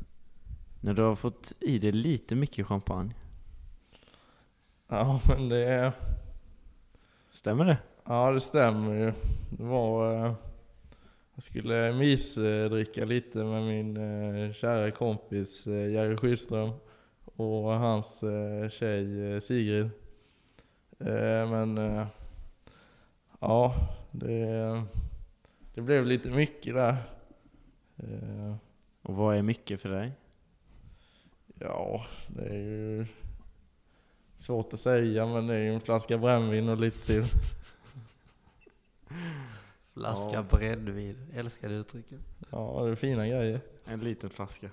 Speaker 2: när du har fått i dig lite mycket champagne.
Speaker 3: Ja, men det... är-
Speaker 2: Stämmer det?
Speaker 3: Ja, det stämmer ju. Det var... eh, Jag skulle mysdricka lite med min eh, kära kompis eh, Jerry Sjöström och hans eh, tjej eh, Sigrid. Eh, Men eh, ja, det, det blev lite mycket där. Eh,
Speaker 2: Och vad är mycket för dig?
Speaker 3: Ja, det är ju svårt att säga men det är ju en flaska brännvin och lite till.
Speaker 1: Flaska
Speaker 2: Ja.
Speaker 1: brännvin. Älskar det uttrycket.
Speaker 3: Ja, det är fina grejer.
Speaker 2: En liten flaska.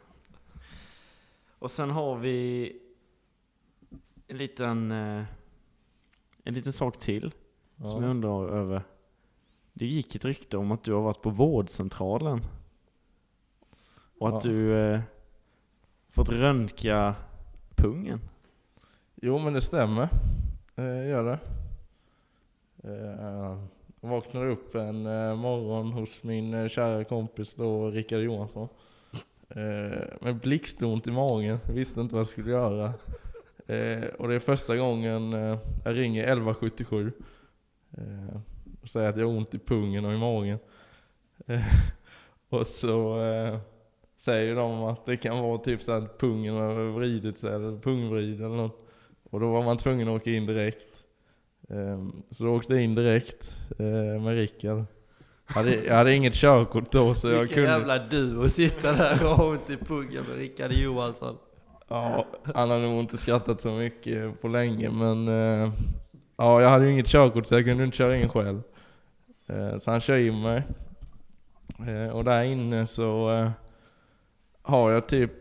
Speaker 2: Och sen har vi en liten, eh, en liten sak till som jag
Speaker 3: Ja.
Speaker 2: undrar över. Det gick ett rykte om att du har varit på vårdcentralen. Och att
Speaker 3: Ja.
Speaker 2: du eh, fått röntga pungen.
Speaker 3: Jo men det stämmer. Eh, gör det. Eh, vaknade upp en eh, morgon hos min eh, kära kompis då, Rickard Johansson. Eh, med blixtont i magen, visste inte vad jag skulle göra. Eh, och det är första gången eh, jag ringer 1177. Eh, och säger att jag har ont i pungen och i magen. Eh, och så eh, säger de att det kan vara typ så att pungen har vridit sig, eller pungvrid eller något. Och då var man tvungen att åka in direkt. Ehm, Så då åkte jag in direkt eh, med Rickard. Jag hade, jag hade inget körkort då så jag
Speaker 1: Vilken
Speaker 3: kunde...
Speaker 1: jävla du att sitta där och ha ont i pungen med Rickard Johansson.
Speaker 3: Ja, han har nog inte skrattat så mycket på länge men... eh, Ja, jag hade ju inget körkort så jag kunde inte köra in själv. Eh, Så han kör in mig. Eh, Och där inne så eh, har jag typ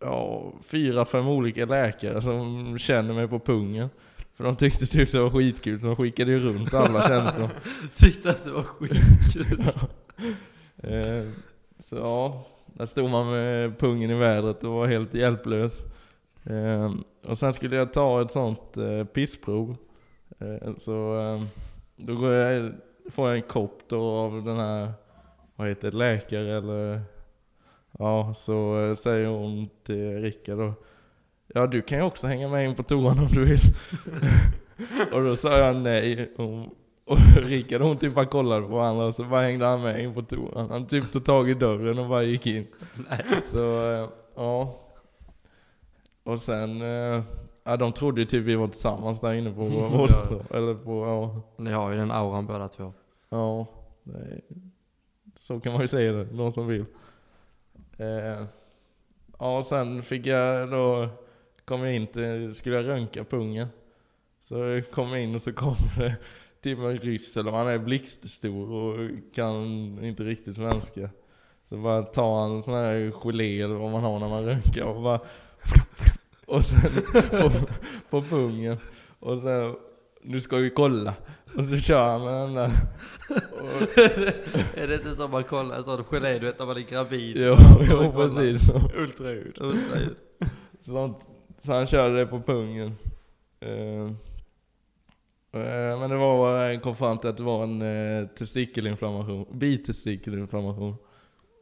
Speaker 3: ja, fyra, fem olika läkare som känner mig på pungen. För de tyckte typ det var skitkul så de skickade ju runt alla känslor.
Speaker 1: Tyckte att det var skitkul.
Speaker 3: Eh, Så ja, där stod man med pungen i vädret och var helt hjälplös. Eh, Och sen skulle jag ta ett sånt eh, pissprov. Eh, Så eh, då går jag, får jag en kopp då av den här, vad heter det, läkare eller? Ja, så eh, säger hon till Rickard då. Ja, du kan ju också hänga med in på toan om du vill. och då sa jag nej. Hon och Rickard hon typ bara kollade på varandra och så bara hängde han med in på toan. Han typ tog tag i dörren och bara gick in. Så eh, ja. Och sen, eh, ja de trodde ju typ vi var tillsammans där inne på vår
Speaker 1: Ja.
Speaker 3: vårdcentral. Eller på, ja.
Speaker 1: Ni har ju den auran båda två.
Speaker 3: Ja, det är, så kan man ju säga det, någon som vill. Eh, ja, och sen fick jag då, kom jag in till, skulle jag röntga pungen. Så kom jag in och så kommer det typ en ryss, eller han är blixtstor och kan inte riktigt svenska. Så bara tar han en sån här gelé eller vad man har när man röntgar och bara och sen på, på pungen. Och sen, nu ska vi kolla. Och så kör han med den där. Och,
Speaker 1: är det inte som man kollar en sån gelé, du vet när man är gravid?
Speaker 3: Jo, jo
Speaker 1: kollar.
Speaker 3: precis. Så,
Speaker 2: Ultraljud.
Speaker 1: Ultraljud.
Speaker 3: så, de, så han körde det på pungen. Eh, eh, men det var, jag kom fram till att det var en eh, testikelinflammation, bitestikelinflammation.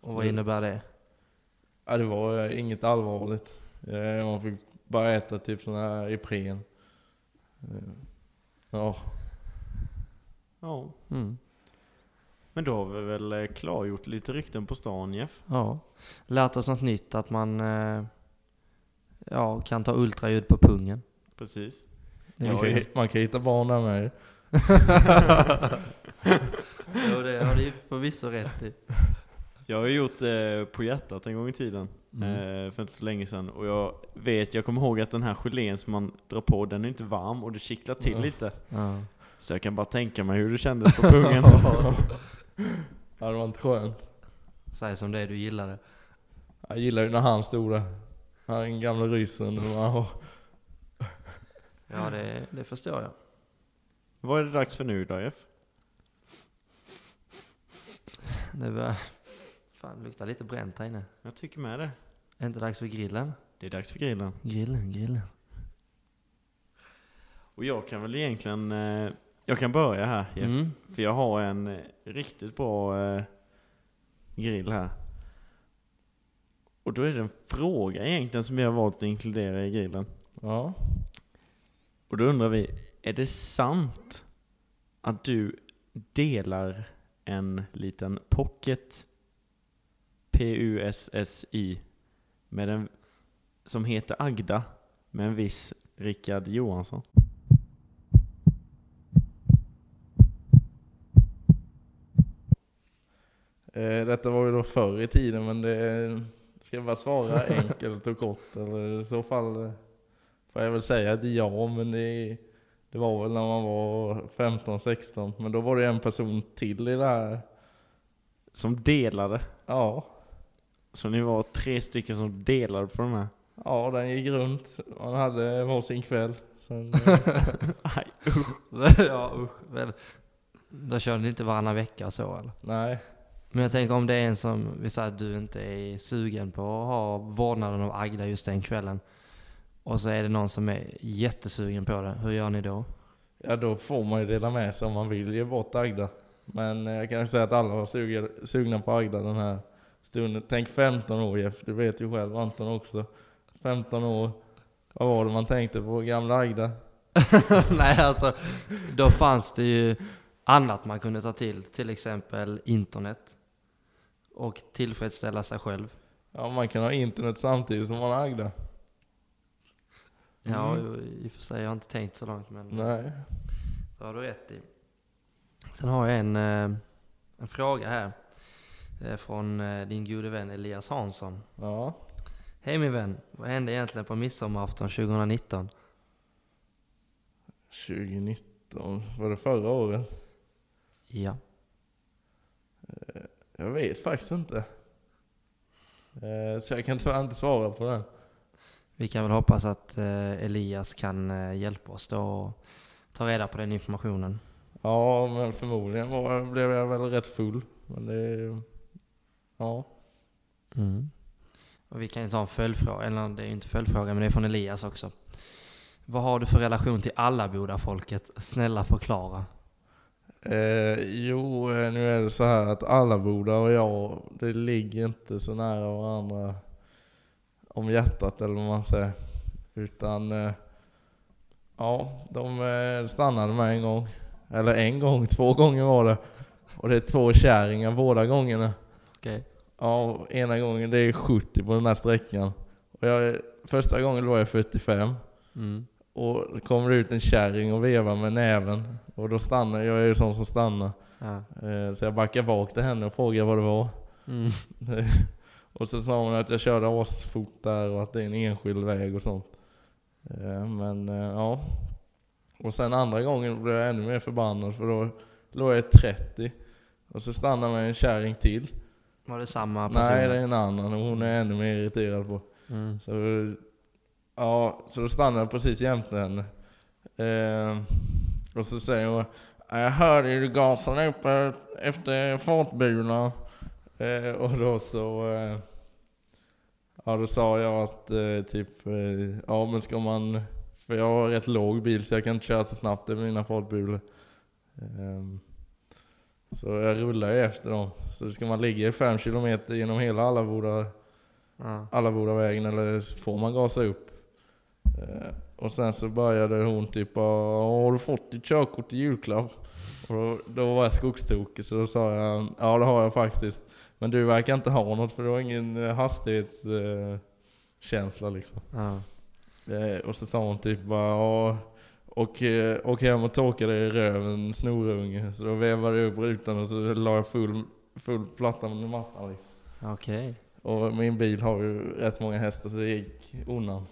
Speaker 1: Och vad innebär det?
Speaker 3: Ja, det var eh, inget allvarligt. Eh, man fick bara äta typ sån här Ipren. Eh, ja,
Speaker 2: Ja.
Speaker 1: Mm.
Speaker 2: Men då har vi väl eh, klargjort lite rykten på stan Jeff.
Speaker 1: Ja. Lärt oss något nytt, att man eh, ja, kan ta ultraljud på pungen.
Speaker 2: Precis.
Speaker 1: Det
Speaker 2: Ja,
Speaker 1: visste jag. Eh,
Speaker 2: det-
Speaker 3: man kan hitta barn där med.
Speaker 1: jo, det har du ju förvisso rätt i.
Speaker 2: Jag har ju gjort eh, på hjärtat en gång i tiden.
Speaker 1: Mm.
Speaker 2: Eh, för inte så länge sedan. Och jag vet, jag kommer ihåg att den här gelén som man drar på, den är inte varm och det kittlar till
Speaker 3: Ja.
Speaker 1: Mm.
Speaker 2: lite.
Speaker 1: Ja.
Speaker 2: Så jag kan bara tänka mig hur det kändes på pungen.
Speaker 3: Ja, det var inte skönt.
Speaker 1: Säg som det är, du gillar det.
Speaker 3: Jag gillar ju när han stod där. Han den gamla ryssen. och bara,
Speaker 1: Ja, det, det förstår jag.
Speaker 2: Vad är det dags för nu då Jeff?
Speaker 1: Det börjar... eh, Fan, det luktar lite bränt här inne.
Speaker 2: Jag tycker med det.
Speaker 1: Är inte dags för grillen?
Speaker 2: Det är dags för grillen.
Speaker 1: Grillen, grillen.
Speaker 2: Och jag kan väl egentligen, eh, jag kan börja här Jeff.
Speaker 1: Mm.
Speaker 2: För jag har en eh, riktigt bra eh, grill här. Och då är det en fråga egentligen som vi har valt att inkludera i grillen.
Speaker 3: Ja.
Speaker 2: Och då undrar vi, är det sant att du delar en liten pocket PUSSI med en som heter Agda med en viss Rickard Johansson?
Speaker 3: Eh, Detta var ju då förr i tiden men det ska jag bara svara enkelt och kort eller i så fall eh, får jag väl säga att ja men det, det var väl när man var 15-16 men då var det en person till i det här.
Speaker 2: Som delade.
Speaker 3: Ja,
Speaker 2: Så ni var tre stycken som delade på den här.
Speaker 3: ja den gick runt. Man hade varsin kväll. Sen, eh,
Speaker 2: Aj.
Speaker 1: ja, usch. Väl. Då kör ni inte varannan vecka och så eller?
Speaker 3: nej,
Speaker 1: Men jag tänker om det är en som, vi säger att du inte är sugen på att ha vårdnaden av Agda just den kvällen. Och så är det någon som är jättesugen på det. Hur gör ni då?
Speaker 3: ja då får man ju dela med sig om man vill ge bort Agda. Men eh, jag kan ju säga att alla var suga, sugna på Agda den här stunden. Tänk 15 år Jeff, du vet ju själv Anton också. 15 år, vad var det man tänkte på? Gamla Agda?
Speaker 1: Nej alltså, då fanns det ju annat man kunde ta till. Till exempel internet. Och tillfredsställa sig själv.
Speaker 3: Ja, man kan ha internet samtidigt som man har Agda.
Speaker 1: Ja,
Speaker 2: Mm.
Speaker 1: i och för sig. Jag har inte tänkt så långt, men
Speaker 3: Nej.
Speaker 1: det har du rätt i. Sen har jag en, eh, en fråga här. eh, Från eh, din gode vän Elias Hansson.
Speaker 3: Ja.
Speaker 1: Hej min vän, vad hände egentligen på midsommarafton 2019?
Speaker 3: 2019, var det förra året?
Speaker 1: Ja.
Speaker 3: Jag vet faktiskt inte. Eh, Så jag kan tyvärr inte svara på den.
Speaker 1: Vi kan väl hoppas att eh, Elias kan eh, hjälpa oss då och ta reda på den informationen.
Speaker 3: Ja, men förmodligen var, blev jag väl rätt full. Men det... Ja.
Speaker 1: Mm. Och vi kan ju ta en följdfråga, eller det är ju inte följdfråga men det är från Elias också. Vad har du för relation till alla folket? Snälla förklara.
Speaker 3: Eh, jo, eh, nu är det så här att Allaboda och jag, det ligger inte så nära varandra om hjärtat eller vad man säger. Utan, eh, ja, de eh, stannade med en gång. Eller en gång, två gånger var det. Och det är två kärringar båda gångerna.
Speaker 1: Okej.
Speaker 3: Ja, och ena gången det är 70 på den här sträckan. Och jag, första gången var jag 45.
Speaker 1: Mm.
Speaker 3: Och det kommer ut en kärring och vevar med näven. Och då stannar jag, jag är ju sån som stannar.
Speaker 1: Ja.
Speaker 3: Eh, Så jag backade bak till henne och frågade vad det var.
Speaker 1: Mm.
Speaker 3: Och så sa hon att jag körde asfort där och att det är en enskild väg och sånt. Eh, Men eh, ja. Och sen andra gången blev jag ännu mer förbannad för då låg jag 30. Och så stannade med en kärring till.
Speaker 1: Var det samma person?
Speaker 3: Nej, det är en annan och hon är jag ännu mer irriterad på.
Speaker 1: Mm.
Speaker 3: Så, ja, så då stannade jag precis jämte henne. Eh, och så säger hon Jag hörde ju du gasade upp eh, efter fartbilarna. Eh, och då så... Eh, ja, då sa jag att eh, typ... Eh, ja, men ska man... För jag har rätt låg bil så jag kan inte köra så snabbt över mina fartbulor. Ehm, så jag rullar ju efter dem. Så ska man ligga i fem kilometer genom hela Allaboda
Speaker 1: Ja.
Speaker 3: Allabodavägen eller så får man gasa upp? Eh, och sen så började hon typ "Ah, Har du fått ditt körkort i julklapp? Och då, då var jag skogstokig så då sa jag Ja det har jag faktiskt. Men du verkar inte ha något för du har ingen hastighetskänsla eh, känsla liksom.
Speaker 1: Ja.
Speaker 3: Eh, och så sa hon typ bara "Ja, och eh, åk hem och torka dig i röven snorunge. Så då vevade jag upp rutan och så la jag full, full platta under mattan liksom.
Speaker 1: Okej.
Speaker 3: Och min bil har ju rätt många hästar så det gick undan.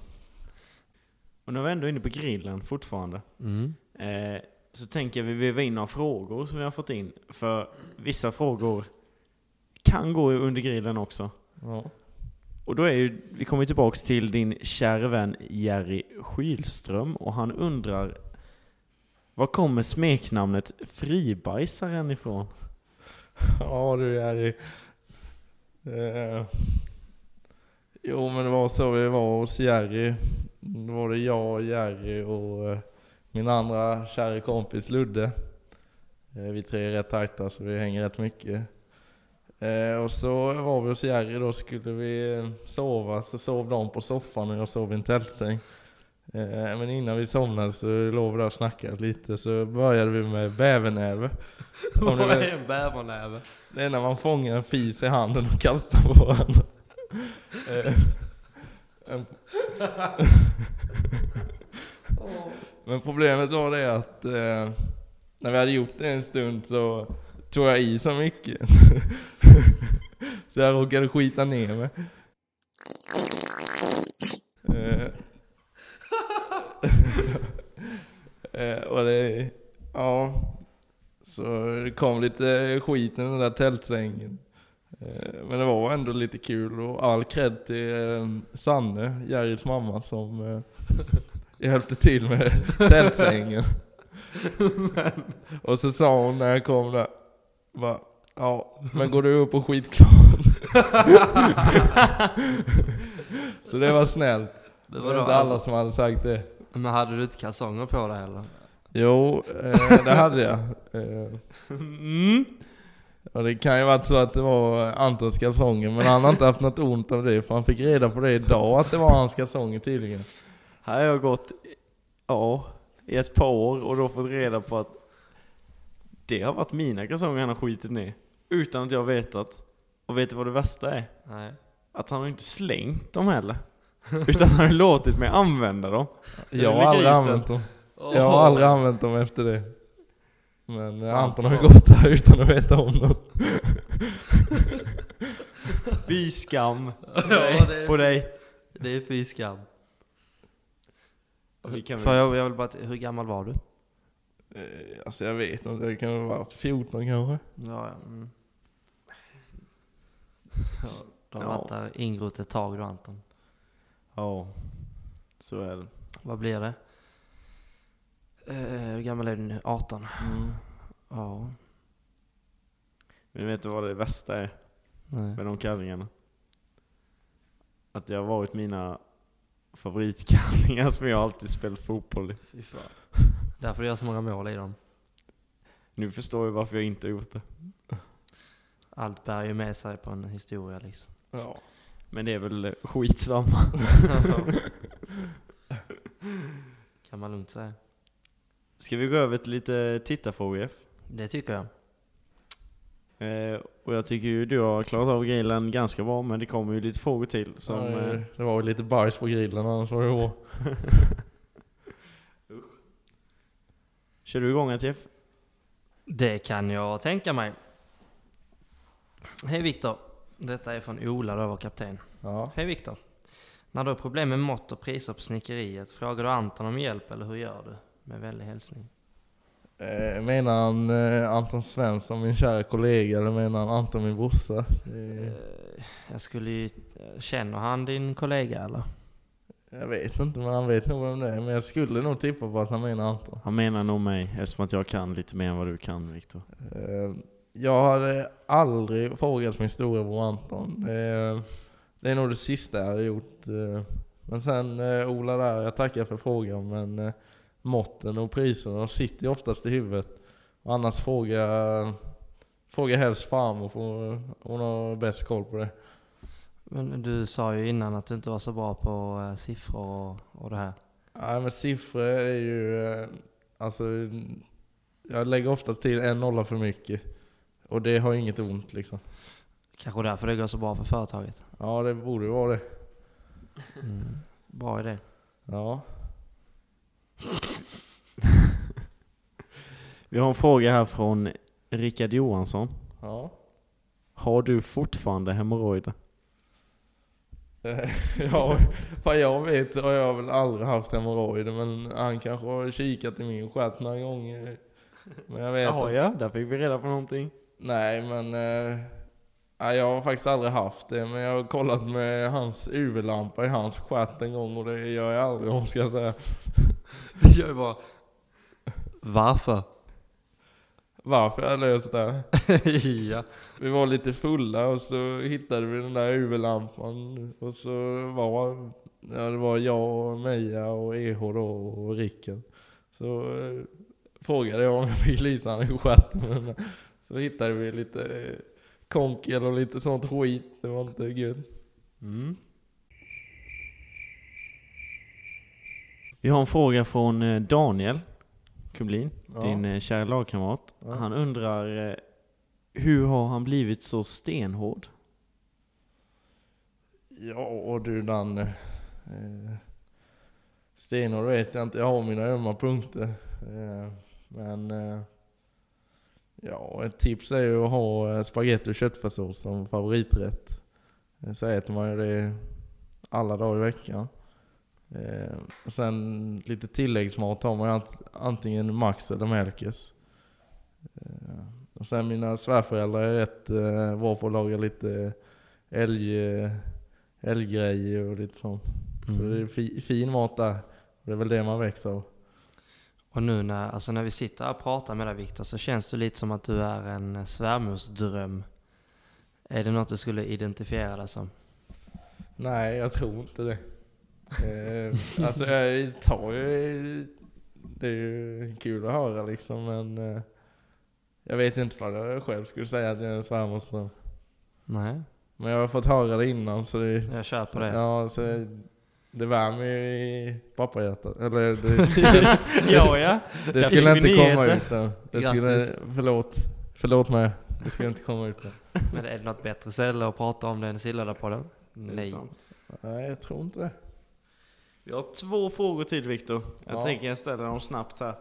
Speaker 2: Och när vi ändå är inne på grillen fortfarande.
Speaker 1: Mm.
Speaker 2: Eh, så tänker jag vi väva in några frågor som vi har fått in. För vissa frågor kan gå under grillen också.
Speaker 3: Ja.
Speaker 2: Och då är ju, vi kommer ju tillbaks till din kära vän Jerry Skylström och han undrar Var kommer smeknamnet Fribajsaren ifrån?
Speaker 3: ja du Jerry. Eh, jo men det var så vi var hos Jerry. Då var det jag, Jerry och eh, min andra kära kompis Ludde. Eh, vi tre är rätt tajta så vi hänger rätt mycket. Eh, och så var vi hos Jerry då skulle vi eh, sova så sov de på soffan och jag sov i en tältsäng. Eh, men innan vi somnade så låg vi där och snackade lite så började vi med bävernäve. Om ni
Speaker 1: Vad
Speaker 3: vet-
Speaker 1: är en bävernäve?
Speaker 3: det är när man fångar en fis i handen och kastar på varandra. Eh, en- Men problemet var det att eh, när vi hade gjort det en stund så tog jag i så mycket. så jag råkade skita ner mig. Eh, eh, och det, ja, så det kom lite skit i den där tältsängen. Eh, Men det var ändå lite kul och all cred till eh, Sanne, Jerrys mamma, som eh, hjälpte till med tältsängen. och så sa hon när jag kom där, bara, ja men går du upp och skitklar? så det var snällt.
Speaker 1: Det
Speaker 3: det
Speaker 1: var
Speaker 3: var
Speaker 1: då,
Speaker 3: inte alla
Speaker 1: alltså,
Speaker 3: som hade sagt det.
Speaker 1: men hade du inte kalsonger på dig heller?
Speaker 3: Jo, eh, det hade jag. Eh,
Speaker 2: Mm.
Speaker 3: Och det kan ju varit så att det var Antons kalsonger, men han har inte haft något ont av det, för han fick reda på det idag att det var hans kalsonger tydligen.
Speaker 2: Här har jag gått ja, i ett par år och då fått reda på att det har varit mina kalsonger han har skitit ner. Utan att jag vetat. Och vet du vad det värsta är?
Speaker 1: Nej.
Speaker 2: att han har inte slängt dem heller. Utan han har ju låtit mig använda dem.
Speaker 3: Jag har aldrig
Speaker 2: grisen.
Speaker 3: använt dem. Jag har aldrig använt dem efter det. Men eh, Anton har ju
Speaker 2: Anton.
Speaker 3: gått där utan att veta om något.
Speaker 2: Fy skam
Speaker 1: Ja, det
Speaker 2: på
Speaker 1: är,
Speaker 2: dig.
Speaker 1: det är fy skam.
Speaker 2: Vi kan
Speaker 1: För
Speaker 2: väl...
Speaker 1: jag, jag vill bara, att- hur gammal var du?
Speaker 3: Eh, Alltså jag vet inte, det kan väl vara 14 kanske?
Speaker 1: Ja, ja. Mm. ja du har
Speaker 2: Ja.
Speaker 1: varit där ingrott ett tag då Anton.
Speaker 2: Ja, så är det.
Speaker 1: Vad blir det? Eh, hur gammal är du nu? 18? Ja.
Speaker 2: Men vet du vad det värsta är
Speaker 1: Nej.
Speaker 2: med de kallingarna? Att det har varit mina favoritkallingar som jag alltid spelat fotboll i.
Speaker 1: Fy fan. Därför gör jag så många mål i dem.
Speaker 2: Nu förstår jag varför jag inte har gjort det.
Speaker 1: Allt bär ju med sig på en historia liksom.
Speaker 3: Ja.
Speaker 2: Men det är väl eh, skitsamma.
Speaker 1: kan man lugnt säga.
Speaker 2: Ska vi gå över till lite tittarfrågor?
Speaker 1: Det tycker jag.
Speaker 2: Eh, och jag tycker ju du har klarat av grillen ganska bra, men det kommer ju lite frågor till. Som,
Speaker 3: Som,
Speaker 2: eh,
Speaker 3: det var ju lite bajs på grillen annars var det hår.
Speaker 2: kör du igång ett Jeff?
Speaker 1: Det kan jag tänka mig. Hej Viktor. Detta är från Ola då, vår kapten.
Speaker 3: Ja.
Speaker 1: Hej Viktor. När du har problem med mått och priser på snickeriet, frågar du Anton om hjälp eller hur gör du? Med vänlig hälsning.
Speaker 3: Eh, menar han eh, Anton Svensson, min kära kollega, eller menar han Anton, min brorsa? Eh,
Speaker 1: Eh, Jag skulle ju... eh, Känner han din kollega eller?
Speaker 3: jag vet inte, men han vet nog vem det är. Men jag skulle nog tippa på att han menar Anton.
Speaker 2: Han menar nog mig, eftersom att jag kan lite mer än vad du kan Viktor.
Speaker 3: Eh, jag hade aldrig frågat min storebror Anton. Eh, det är nog det sista jag hade gjort. Eh, men sen eh, Ola där, jag tackar för frågan, men eh, måtten och priserna de sitter ju oftast i huvudet. Och annars fråga, fråga helst farmor, för hon- hon har bäst koll på det.
Speaker 1: Men du sa ju innan att du inte var så bra på eh, siffror och, och det här.
Speaker 3: Nej men siffror är ju... eh, Alltså... Jag lägger ofta till en nolla för mycket. Och det har inget ont liksom.
Speaker 1: Kanske därför det går så bra för företaget.
Speaker 3: Ja det borde ju vara det.
Speaker 1: Mm. Bra idé.
Speaker 3: Ja.
Speaker 2: Vi har en fråga här från Rickard Johansson.
Speaker 3: Ja.
Speaker 2: Har du fortfarande hemorrojder?
Speaker 3: Eh, ja vad jag vet har jag väl aldrig haft hemorrojder men han kanske har kikat i min stjärt några gånger. Men jag vet inte.
Speaker 2: ja, där fick vi reda på någonting.
Speaker 3: Nej men... Eh, nej, jag har faktiskt aldrig haft det men jag har kollat med hans UV-lampa i hans stjärt en gång och det gör jag aldrig om ska jag säga.
Speaker 1: Jag är bara... Varför?
Speaker 3: Varför jag löst det?
Speaker 1: ja.
Speaker 3: Vi var lite fulla och så hittade vi den där UV-lampan och så var ja, det var jag och Meja och EH då och Rickard. Så eh, frågade jag om jag fick lysa han i stjärten med den där. Så hittade vi lite eh, konkel och lite sånt skit. Det var inte gött.
Speaker 2: Mm. Vi har en fråga från eh, Daniel Kumlin,
Speaker 3: Ja.
Speaker 2: din eh, kära lagkamrat.
Speaker 3: Ja.
Speaker 2: Han undrar eh, hur har han blivit så stenhård?
Speaker 3: Ja och du Danne. Eh, Stenor vet jag inte, jag har mina ömma punkter. Eh, men eh, ja, ett tips är ju att ha eh, spagetti och köttfärssås som favoriträtt. Eh, Så äter man ju det alla dagar i veckan. Eh, och sen lite tilläggsmat har man ju ant- antingen Max eller Melkes. Eh, och sen mina svärföräldrar är rätt eh, bra på att laga lite älg... Eh, älggrejer och lite sånt. Så det är fi, fin mat där. Och det är väl det man växer av.
Speaker 1: Och nu när, alltså när vi sitter här och pratar med dig Viktor så känns det lite som att du är en svärmorsdröm. Är det något du skulle identifiera dig som?
Speaker 3: Nej, jag tror inte det. eh, alltså jag tar ju... Det är ju kul att höra liksom men... Eh, jag vet inte vad jag själv skulle säga att jag är en svärmorsdröm.
Speaker 1: Nej,
Speaker 3: Men jag har fått höra det innan så det...
Speaker 1: jag kör på det.
Speaker 3: Ja, så det värmer ju i pappahjärtat. Eller det,
Speaker 2: ja, ja.
Speaker 3: det,
Speaker 2: Där
Speaker 3: skulle
Speaker 2: fick vi
Speaker 3: inte komma
Speaker 2: nyheter.
Speaker 3: ut än. Det skulle... Förlåt. Förlåt mig. Det skulle inte komma ut än.
Speaker 1: Men är det något bättre ställe att prata om det än Silladapodden?
Speaker 2: Är det
Speaker 1: Nej.
Speaker 2: sant?
Speaker 3: Nej, jag tror inte det.
Speaker 2: Vi har två frågor till Viktor. Jag
Speaker 3: Ja.
Speaker 2: tänker jag ställer dem snabbt här.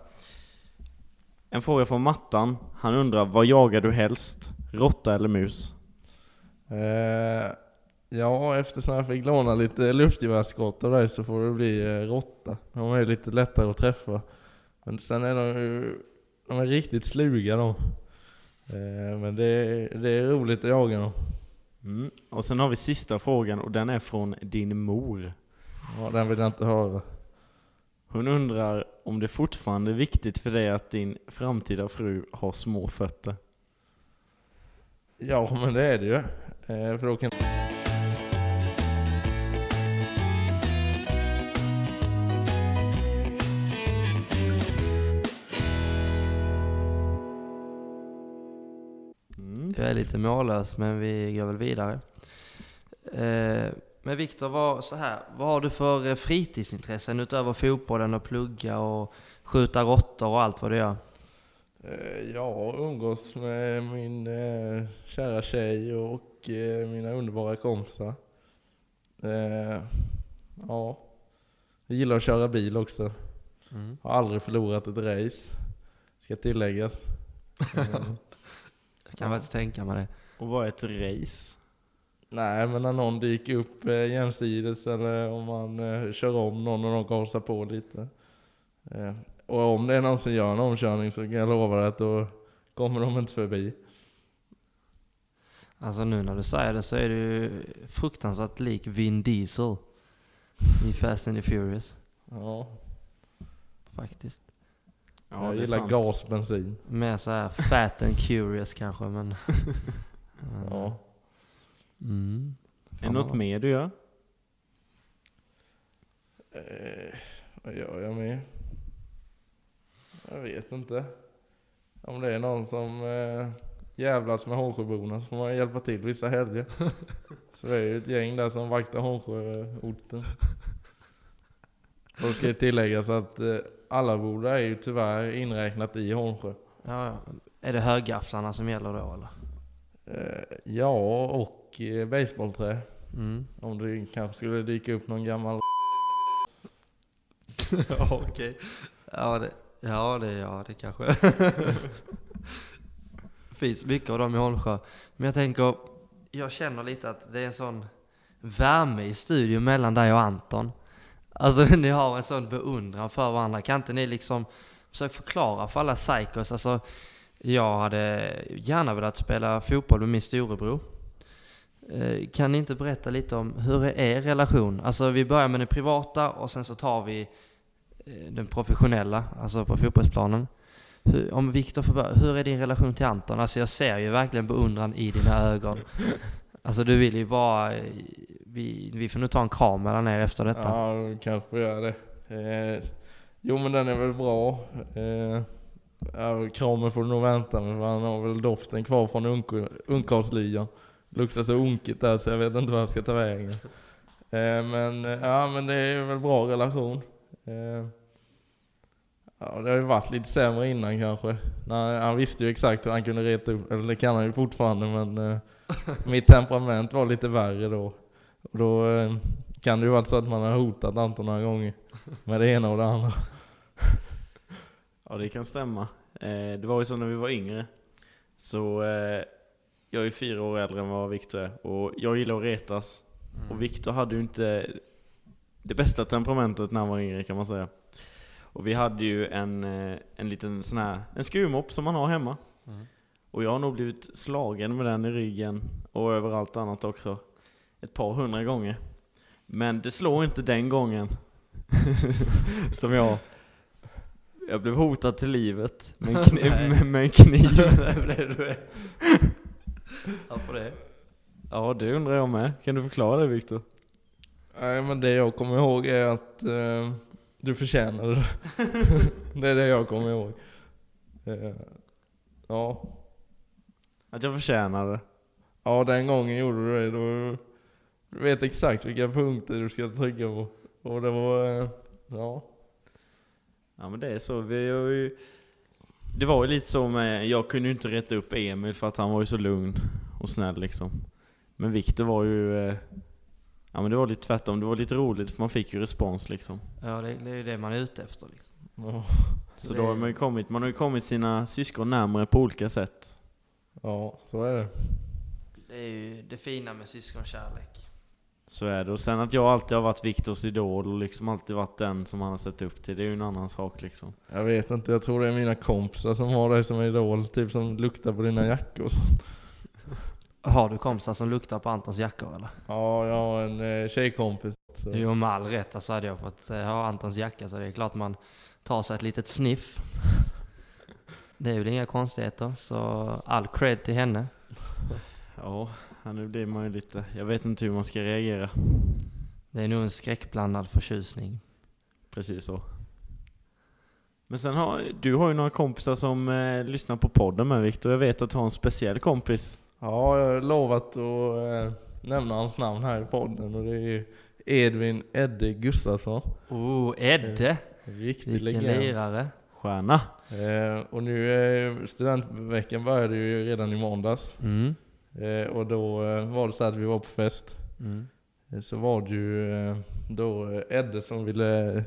Speaker 2: En fråga från Mattan. Han undrar, vad jagar du helst? Råtta eller mus?
Speaker 3: Eh, ja, eftersom jag fick låna lite luftgevärsskott av dig så får det bli eh, råtta. De är lite lättare att träffa. Men sen är de ju de är riktigt sluga de. Eh, men det är, det är roligt att jaga dem.
Speaker 2: Mm. Och sen har vi sista frågan och den är från din mor.
Speaker 3: Ja, den vill jag inte höra.
Speaker 2: Hon undrar om det fortfarande är viktigt för dig att din framtida fru har små fötter.
Speaker 3: Ja, men det är det ju. Eh, för då kan...
Speaker 2: Mm.
Speaker 1: Jag är lite mållös, men vi går väl vidare. Eh, Men Viktor, vad, så här, vad har du för eh, fritidsintressen utöver fotbollen och plugga och skjuta råttor och allt vad du gör?
Speaker 3: Eh, ja, umgås med min eh, kära tjej och eh, mina underbara kompisar. Eh, ja. Jag gillar att köra bil också.
Speaker 1: Mm.
Speaker 3: Har aldrig förlorat ett race. Ska tilläggas. Eh,
Speaker 1: Jag kan faktiskt tänka mig det.
Speaker 2: Och vad är ett race?
Speaker 3: nej, men när någon dyker upp eh, jämsides eller om man eh, kör om någon och de gasar på lite. Eh, och om det är någon som gör en omkörning så kan jag lova dig att då kommer de inte förbi.
Speaker 1: Alltså nu när du säger det så är du fruktansvärt lik Vin Diesel i Fast and the Furious,
Speaker 3: Ja,
Speaker 1: faktiskt.
Speaker 2: Ja,
Speaker 3: jag
Speaker 2: det är
Speaker 3: gillar
Speaker 2: sant.
Speaker 3: gasbensin.
Speaker 1: Mer så här fat and curious kanske, men... men-
Speaker 3: Ja.
Speaker 1: Mm.
Speaker 2: Är det något mer du gör?
Speaker 3: Eh, vad gör jag med? Jag vet inte. Om det är någon som eh, jävlas med Hånsjöborna så får man hjälpa till vissa helger. så det är ju ett gäng där som vaktar Hånsjöorten. Och det ska ju tilläggas att eh, Allaboda är ju tyvärr inräknat i Hånsjö.
Speaker 1: Ja, ja. Är det högafflarna som gäller då eller?
Speaker 3: Eh, ja, och eh, baseballträ.
Speaker 1: Mm.
Speaker 3: Om det kanske skulle dyka upp någon gammal
Speaker 1: ja, okej. Ja, det, ja, det, ja, det kanske... finns mycket av dem i Holmsjö. Men jag tänker, jag känner lite att det är en sån värme i studion mellan dig och Anton. Alltså ni har en sån beundran för varandra. Kan inte ni liksom försöka förklara för alla psykos? Alltså, jag hade gärna velat spela fotboll med min storebror. Eh, Kan ni inte berätta lite om hur är er relation? Alltså vi börjar med det privata och sen så tar vi eh, den professionella, alltså på fotbollsplanen. Hur, om Viktor får börja, hur är din relation till Anton? Alltså jag ser ju verkligen beundran i dina ögon. Alltså du vill ju bara... eh, Vi, vi får nu ta en kram mellan er efter detta.
Speaker 3: Ja, vi kanske får göra det. Eh, jo men den är väl bra. Eh, ja, kramen får du nog vänta med för han har väl doften kvar från unk- ungkarlsligan. Luktar så unkigt där så jag vet inte vart jag ska ta vägen. Eh, men eh, ja men det är väl bra relation. Eh, ja, det har ju varit lite sämre innan kanske. Nej, han visste ju exakt hur han kunde reta upp, eller det kan han ju fortfarande men eh, mitt temperament var lite värre då. Och då eh, kan det ju vara så att man har hotat Anton några gånger med det ena och det andra.
Speaker 2: Ja, det kan stämma. Eh, det var ju så när vi var yngre. Så eh, jag är fyra år äldre än vad Viktor är och jag gillar att retas. Och Viktor hade ju inte det bästa temperamentet när han var yngre kan man säga. Och vi hade ju en, eh, en liten sån här, en skruvmopp som man har hemma.
Speaker 1: Mm.
Speaker 2: Och jag har nog blivit slagen med den i ryggen och överallt annat också. Ett par hundra gånger. Men det slår inte den gången. som jag... Jag blev hotad till livet med en, kni-
Speaker 1: Nej.
Speaker 2: med, med en kniv.
Speaker 1: Blev du det? Ja, på det.
Speaker 2: Ja, det undrar jag med. Kan du förklara det Viktor?
Speaker 3: Nej men det jag kommer ihåg är att eh, du förtjänade det. det är det jag kommer ihåg. Eh, ja.
Speaker 2: Att jag förtjänar det.
Speaker 3: ja, den gången gjorde du det. Då, du vet exakt vilka punkter du ska trycka på. Och det var, eh, ja.
Speaker 2: Ja men det är så. Vi har ju... Det var ju lite så med, jag kunde ju inte rätta upp Emil för att han var ju så lugn och snäll liksom. Men Viktor var ju eh, Ja men det var lite tvärtom, det var lite roligt för man fick ju respons liksom.
Speaker 1: Ja, det, det är ju det man är ute efter. Liksom.
Speaker 3: Ja.
Speaker 2: Så
Speaker 1: Det-
Speaker 2: då har man ju kommit, man har ju kommit sina syskon närmare på olika sätt.
Speaker 3: ja, så är det.
Speaker 1: Det är ju det fina med syskonkärlek.
Speaker 2: Så är det. Och sen att jag alltid har varit Viktors idol och liksom alltid varit den som han har sett upp till, det är ju en annan sak liksom.
Speaker 3: Jag vet inte, jag tror det är mina kompisar som har dig som idol, typ som luktar på dina jackor. och så.
Speaker 1: Har du kompisar som luktar på Antons jackor eller?
Speaker 3: Ja, jag har en eh, tjejkompis. Så.
Speaker 1: Jo, med all rätt. Alltså hade jag fått eh, ha Antons jacka så det är klart man tar sig ett litet sniff. Det är väl inga konstigheter, så all cred till henne.
Speaker 2: Ja, ja, nu blir man ju lite, jag vet inte hur man ska reagera.
Speaker 1: Det är nog en skräckblandad förtjusning.
Speaker 2: Precis så. Men sen har, du har ju några kompisar som eh, lyssnar på podden med Viktor. Jag vet att du har en speciell kompis.
Speaker 3: Ja, jag har lovat att eh, nämna hans namn här i podden och det är Edvin Edde Gustafsson.
Speaker 1: Oh, Edde!
Speaker 3: En Riktig
Speaker 1: Vilken
Speaker 3: legend.
Speaker 1: lirare.
Speaker 2: Stjärna.
Speaker 3: Eh, och nu, eh, studentveckan började ju redan i måndags.
Speaker 1: Mm.
Speaker 3: Eh, och då eh, var det så att vi var på fest.
Speaker 1: Mm.
Speaker 3: Eh, Så var det ju eh, då eh, Edde som ville...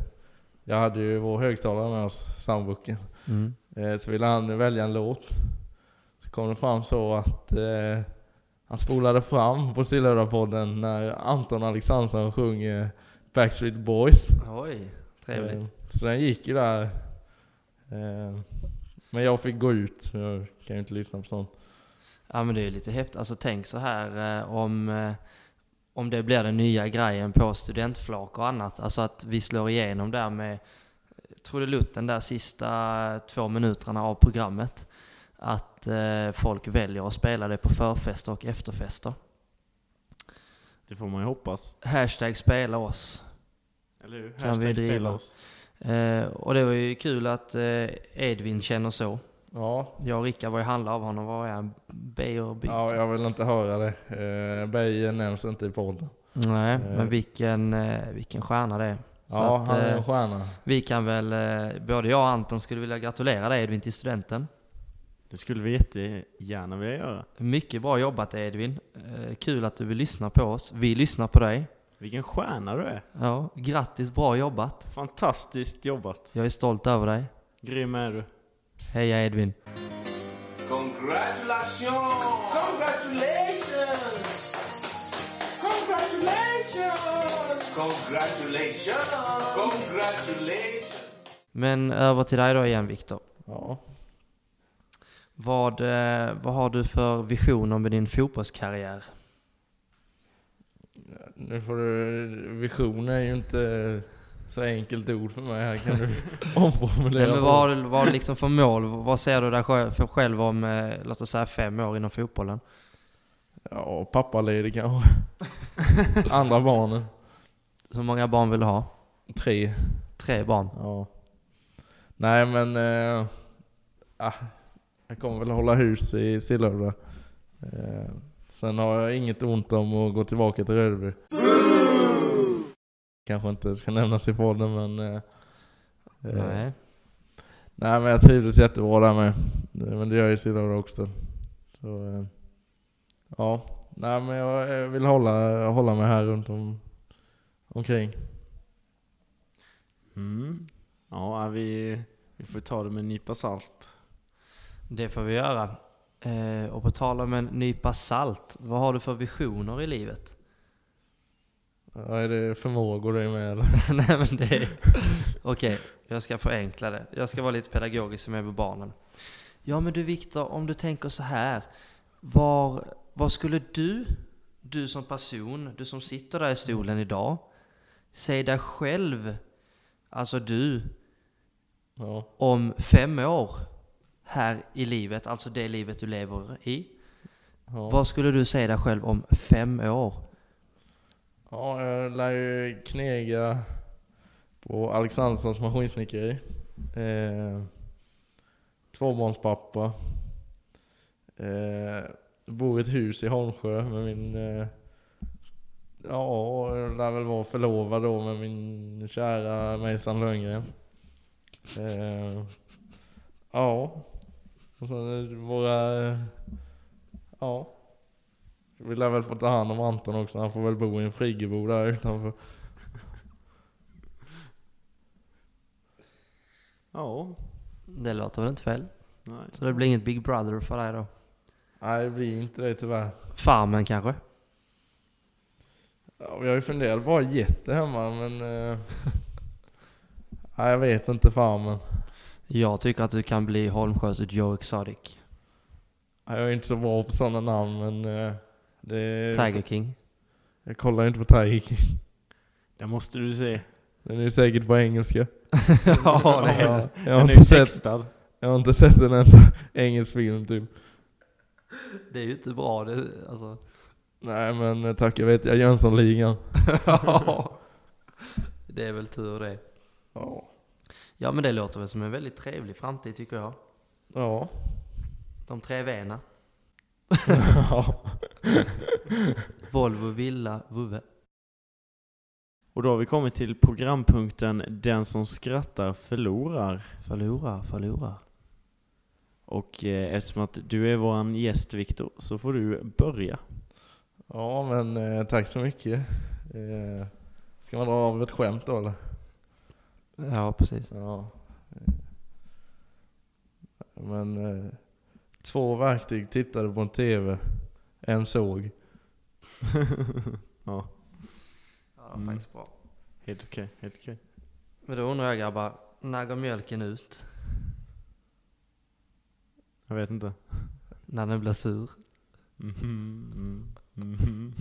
Speaker 3: Jag hade ju vår högtalare med oss, soundbooken.
Speaker 1: Mm.
Speaker 3: Eh, Så ville han välja en låt. Så kom det fram så att eh, han spolade fram på Stillhörarpodden när Anton Alexandersson sjunger Backstreet Boys.
Speaker 1: Oj, trevligt.
Speaker 3: Eh, Så den gick ju där. Eh, Men jag fick gå ut, så jag kan ju inte lyssna på sånt.
Speaker 1: Ja men det är ju lite häftigt. Alltså tänk så här eh, om, eh, om det blir den nya grejen på studentflak och annat. Alltså att vi slår igenom där med eh, trudelutten där sista två minuterna av programmet. Att eh, folk väljer att spela det på förfester och efterfester.
Speaker 2: Det får man ju hoppas.
Speaker 1: Hashtag spela oss.
Speaker 2: Eller hur?
Speaker 1: Kan vi driva? Eh, och det var ju kul att eh, Edvin känner så.
Speaker 3: Ja,
Speaker 1: Jag och Rickard var ju handla av honom. Vad är han? Beyer Beat?
Speaker 3: ja jag vill inte höra det. Eh, Beijer nämns inte i podden.
Speaker 1: Nej,
Speaker 3: Eh.
Speaker 1: men vilken, eh, vilken stjärna det är. Så
Speaker 3: Ja,
Speaker 1: att,
Speaker 3: han är
Speaker 1: eh,
Speaker 3: en stjärna.
Speaker 1: Vi kan väl, eh, både jag och Anton skulle vilja gratulera dig Edvin till studenten.
Speaker 2: Det skulle vi jättegärna vilja göra.
Speaker 1: Mycket bra jobbat Edvin. Eh, Kul att du vill lyssna på oss. Vi lyssnar på dig.
Speaker 2: Vilken stjärna du är.
Speaker 1: Ja, grattis, bra jobbat.
Speaker 2: Fantastiskt jobbat.
Speaker 1: Jag är stolt över dig.
Speaker 2: Grym är du.
Speaker 1: Heja Edvin.
Speaker 4: Congratulations! Congratulations! Congratulations! Congratulations! Congratulations!
Speaker 1: Men över till dig då igen Viktor.
Speaker 3: Ja.
Speaker 1: Vad, eh, vad har du för vision om din fotbollskarriär?
Speaker 3: Nu får du... Vision är ju inte så enkelt ord för mig. Här kan du omformulera.
Speaker 1: Nej, men vad har du vad har du liksom för mål? Vad ser du dig sj- för själv om, eh, låt oss säga fem år inom fotbollen?
Speaker 3: Ja, pappaledig kanske. Andra barnen.
Speaker 1: Hur många barn vill du ha?
Speaker 3: Tre.
Speaker 1: Tre barn.
Speaker 3: Ja. Nej men... Eh, ah, jag kommer väl hålla hus i Sillhövda. Eh, sen har jag inget ont om att gå tillbaka till Rödeby. Kanske inte ska nämnas i podden men... Eh, eh,
Speaker 1: Nej.
Speaker 3: Nej men jag trivdes jättebra där med. Det- Men det gör ju Sillhöra också. Så, eh, ja. Nej men jag eh, vill hålla, hålla mig här runt om, omkring.
Speaker 2: Mm. Ja, vi, vi får ta det med en nypa salt.
Speaker 1: Det får vi göra. Eh, och på tal om en nypa salt, vad har du för visioner i livet?
Speaker 3: Ja, är det förmågor du är med eller?
Speaker 1: Nej men det är... Okej, jag ska förenkla det. Jag ska vara lite pedagogisk som jag är med barnen. Ja men du Viktor, om du tänker så här. Var, vad skulle du, du som person, du som sitter där i stolen idag, säg dig själv, alltså du,
Speaker 3: Ja.
Speaker 1: om fem år här i livet, alltså det livet du lever i.
Speaker 3: ja.
Speaker 1: Vad skulle du säga dig själv om fem år?
Speaker 3: ja jag lär ju knega på Alexanderssons maskinsnickeri. Eh, tvåbarnspappa. Eh, bor i ett hus i Holmsjö med min... Eh, ja, jag lär väl vara förlovad då med min kära Mejsan Lönngren. Eh, ja. Och sen är det våra... Ja. Vi lär väl få ta hand om Anton också, han får väl bo i en friggebod där utanför.
Speaker 2: Ja,
Speaker 1: Det låter väl inte fel?
Speaker 2: nej.
Speaker 1: Så det blir inget Big Brother för dig då?
Speaker 3: Nej det blir inte det tyvärr.
Speaker 1: Farmen kanske?
Speaker 3: Ja, vi har ju funderat på att ha getter hemma men... Eh, nej jag vet inte farmen.
Speaker 1: Jag tycker att du kan bli Holmsjös Joe Exotic.
Speaker 3: Nej, Jag är inte så bra på sådana namn men... Eh, det,
Speaker 1: Tiger King.
Speaker 3: Jag kollar inte på Tiger King.
Speaker 2: Det måste du se.
Speaker 3: Den är ju säkert på engelska.
Speaker 1: ja, det är
Speaker 3: Ja,
Speaker 1: det.
Speaker 3: jag,
Speaker 2: Den
Speaker 3: har
Speaker 2: är ju
Speaker 3: inte sett,
Speaker 2: textad.
Speaker 3: jag har inte sett en enda engelsk film typ.
Speaker 1: Det är ju inte bra. Det, alltså.
Speaker 3: Nej men eh, tack, jag vet, jag Jönssonligan.
Speaker 1: det är väl tur det.
Speaker 3: Ja.
Speaker 1: Ja, men det låter väl som en väldigt trevlig framtid tycker jag.
Speaker 3: Ja.
Speaker 1: De tre V'na.
Speaker 3: ja.
Speaker 1: Volvo, villa, vovve.
Speaker 2: Och då har vi kommit till programpunkten Den som skrattar förlorar.
Speaker 1: Förlora, förlora.
Speaker 2: Och eh, eftersom att du är våran gäst Viktor så får du börja.
Speaker 3: Ja men eh, tack så mycket. Eh, ska man dra av ett skämt då eller?
Speaker 1: Ja, precis.
Speaker 3: Ja. Eh, Men eh, två verktyg tittade på en TV. En såg.
Speaker 2: ja,
Speaker 1: Ja, det var
Speaker 2: Mm.
Speaker 1: faktiskt bra.
Speaker 2: helt okej. Helt okej.
Speaker 1: Men då undrar jag grabbar, när går mjölken ut?
Speaker 2: Jag vet inte.
Speaker 1: När den blir sur?
Speaker 2: Mhm, mm, mhm.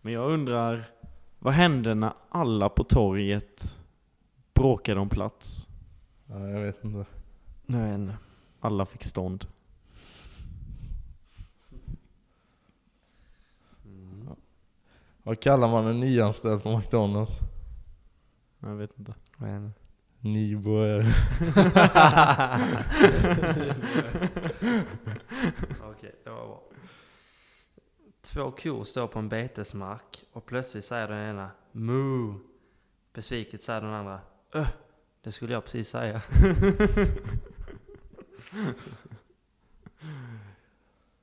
Speaker 2: Men jag undrar, vad hände när alla på torget bråkade om plats?
Speaker 3: Ja, jag vet inte.
Speaker 1: Nu är den.
Speaker 2: Alla fick stånd.
Speaker 3: Vad kallar man en nyanställd på McDonalds?
Speaker 2: Jag vet inte.
Speaker 1: Nu är den.
Speaker 3: Nybörjare.
Speaker 1: Okej, det var bra. Två kor står på en betesmark och plötsligt säger den ena Moo! Besviket säger den andra Öh! Det skulle jag precis säga.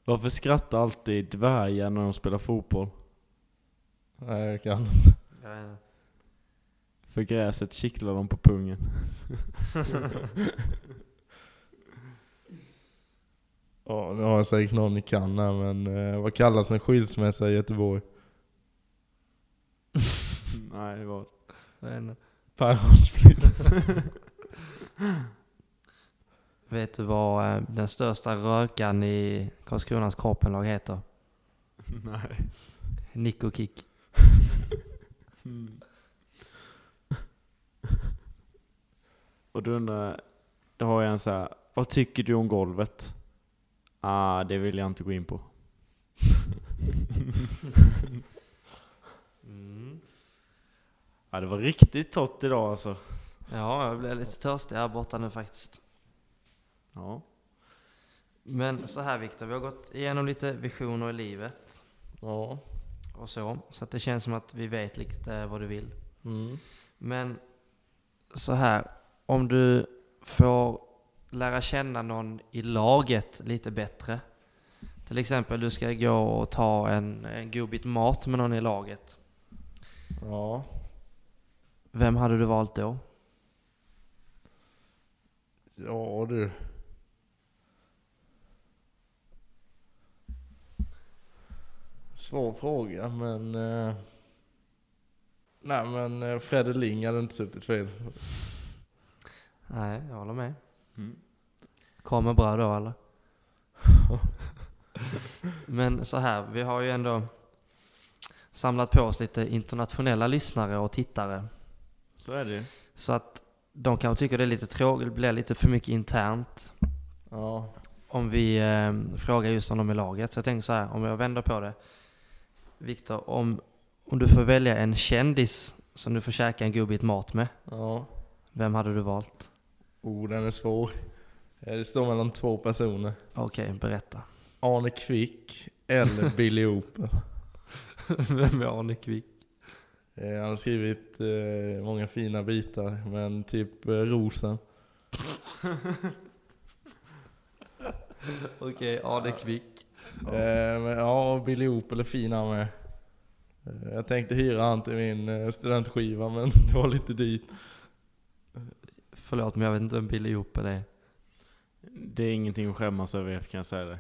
Speaker 2: Varför skrattar alltid dvärgar när de spelar fotboll?
Speaker 3: Nej jag kan
Speaker 1: Jag vet inte.
Speaker 2: För gräset kittlar dem på pungen.
Speaker 3: Ja, nu har jag säkert någon ni kan här men eh, vad kallas en skilsmässa i Göteborg?
Speaker 2: Nej, det var...
Speaker 1: Jag vet inte.
Speaker 3: Päronsplitt.
Speaker 1: Vet du vad eh, den största rökan i Karlskronas korpenlag heter?
Speaker 2: Nej.
Speaker 1: Nico Kick.
Speaker 2: Och då undrar då har jag en så här, vad tycker du om golvet? Ah, det vill jag inte gå in på. Mm. Ja, det var riktigt torrt idag alltså.
Speaker 1: Ja, jag blev lite törstig här borta nu faktiskt.
Speaker 2: Ja.
Speaker 1: Men så här Viktor, vi har gått igenom lite visioner i livet
Speaker 3: Ja.
Speaker 1: och så. Så att det känns som att vi vet lite vad du vill.
Speaker 3: Mm.
Speaker 1: Men så här, om du får lära känna någon i laget lite bättre. Till exempel du ska gå och ta en, en god bit mat med någon i laget.
Speaker 3: Ja.
Speaker 1: Vem hade du valt då?
Speaker 3: Ja du. Svår fråga men... Eh, nej men eh, Fredde Ling hade inte suttit fel.
Speaker 1: Nej, jag håller med.
Speaker 2: Mm.
Speaker 1: Kommer bra då eller? Men så här, vi har ju ändå samlat på oss lite internationella lyssnare och tittare.
Speaker 2: Så är det ju.
Speaker 1: Så att de kanske tycker det är lite tråkigt, det blir lite för mycket internt.
Speaker 3: Ja.
Speaker 1: Om vi eh, frågar just om de är laget. Så jag tänker så här, om jag vänder på det. Viktor, om, om du får välja en kändis som du får käka en god bit mat med.
Speaker 3: Ja.
Speaker 1: Vem hade du valt?
Speaker 3: Oh den är svår. Eh, Det står mellan två personer.
Speaker 1: Okej, berätta.
Speaker 3: Arne Kvick eller Billy Oper.
Speaker 1: Vem är Arne Kvick?
Speaker 3: Eh, han har skrivit eh, många fina bitar men typ eh, Rosen.
Speaker 1: Okej, Arne Kvick.
Speaker 3: Eh, men ja, och Billy Opel är fin han med. Eh, jag tänkte hyra han till min eh, studentskiva men det var lite dyrt.
Speaker 1: Förlåt men jag vet inte vem Billy Opel är.
Speaker 2: Det är ingenting att skämmas över kan jag säga det.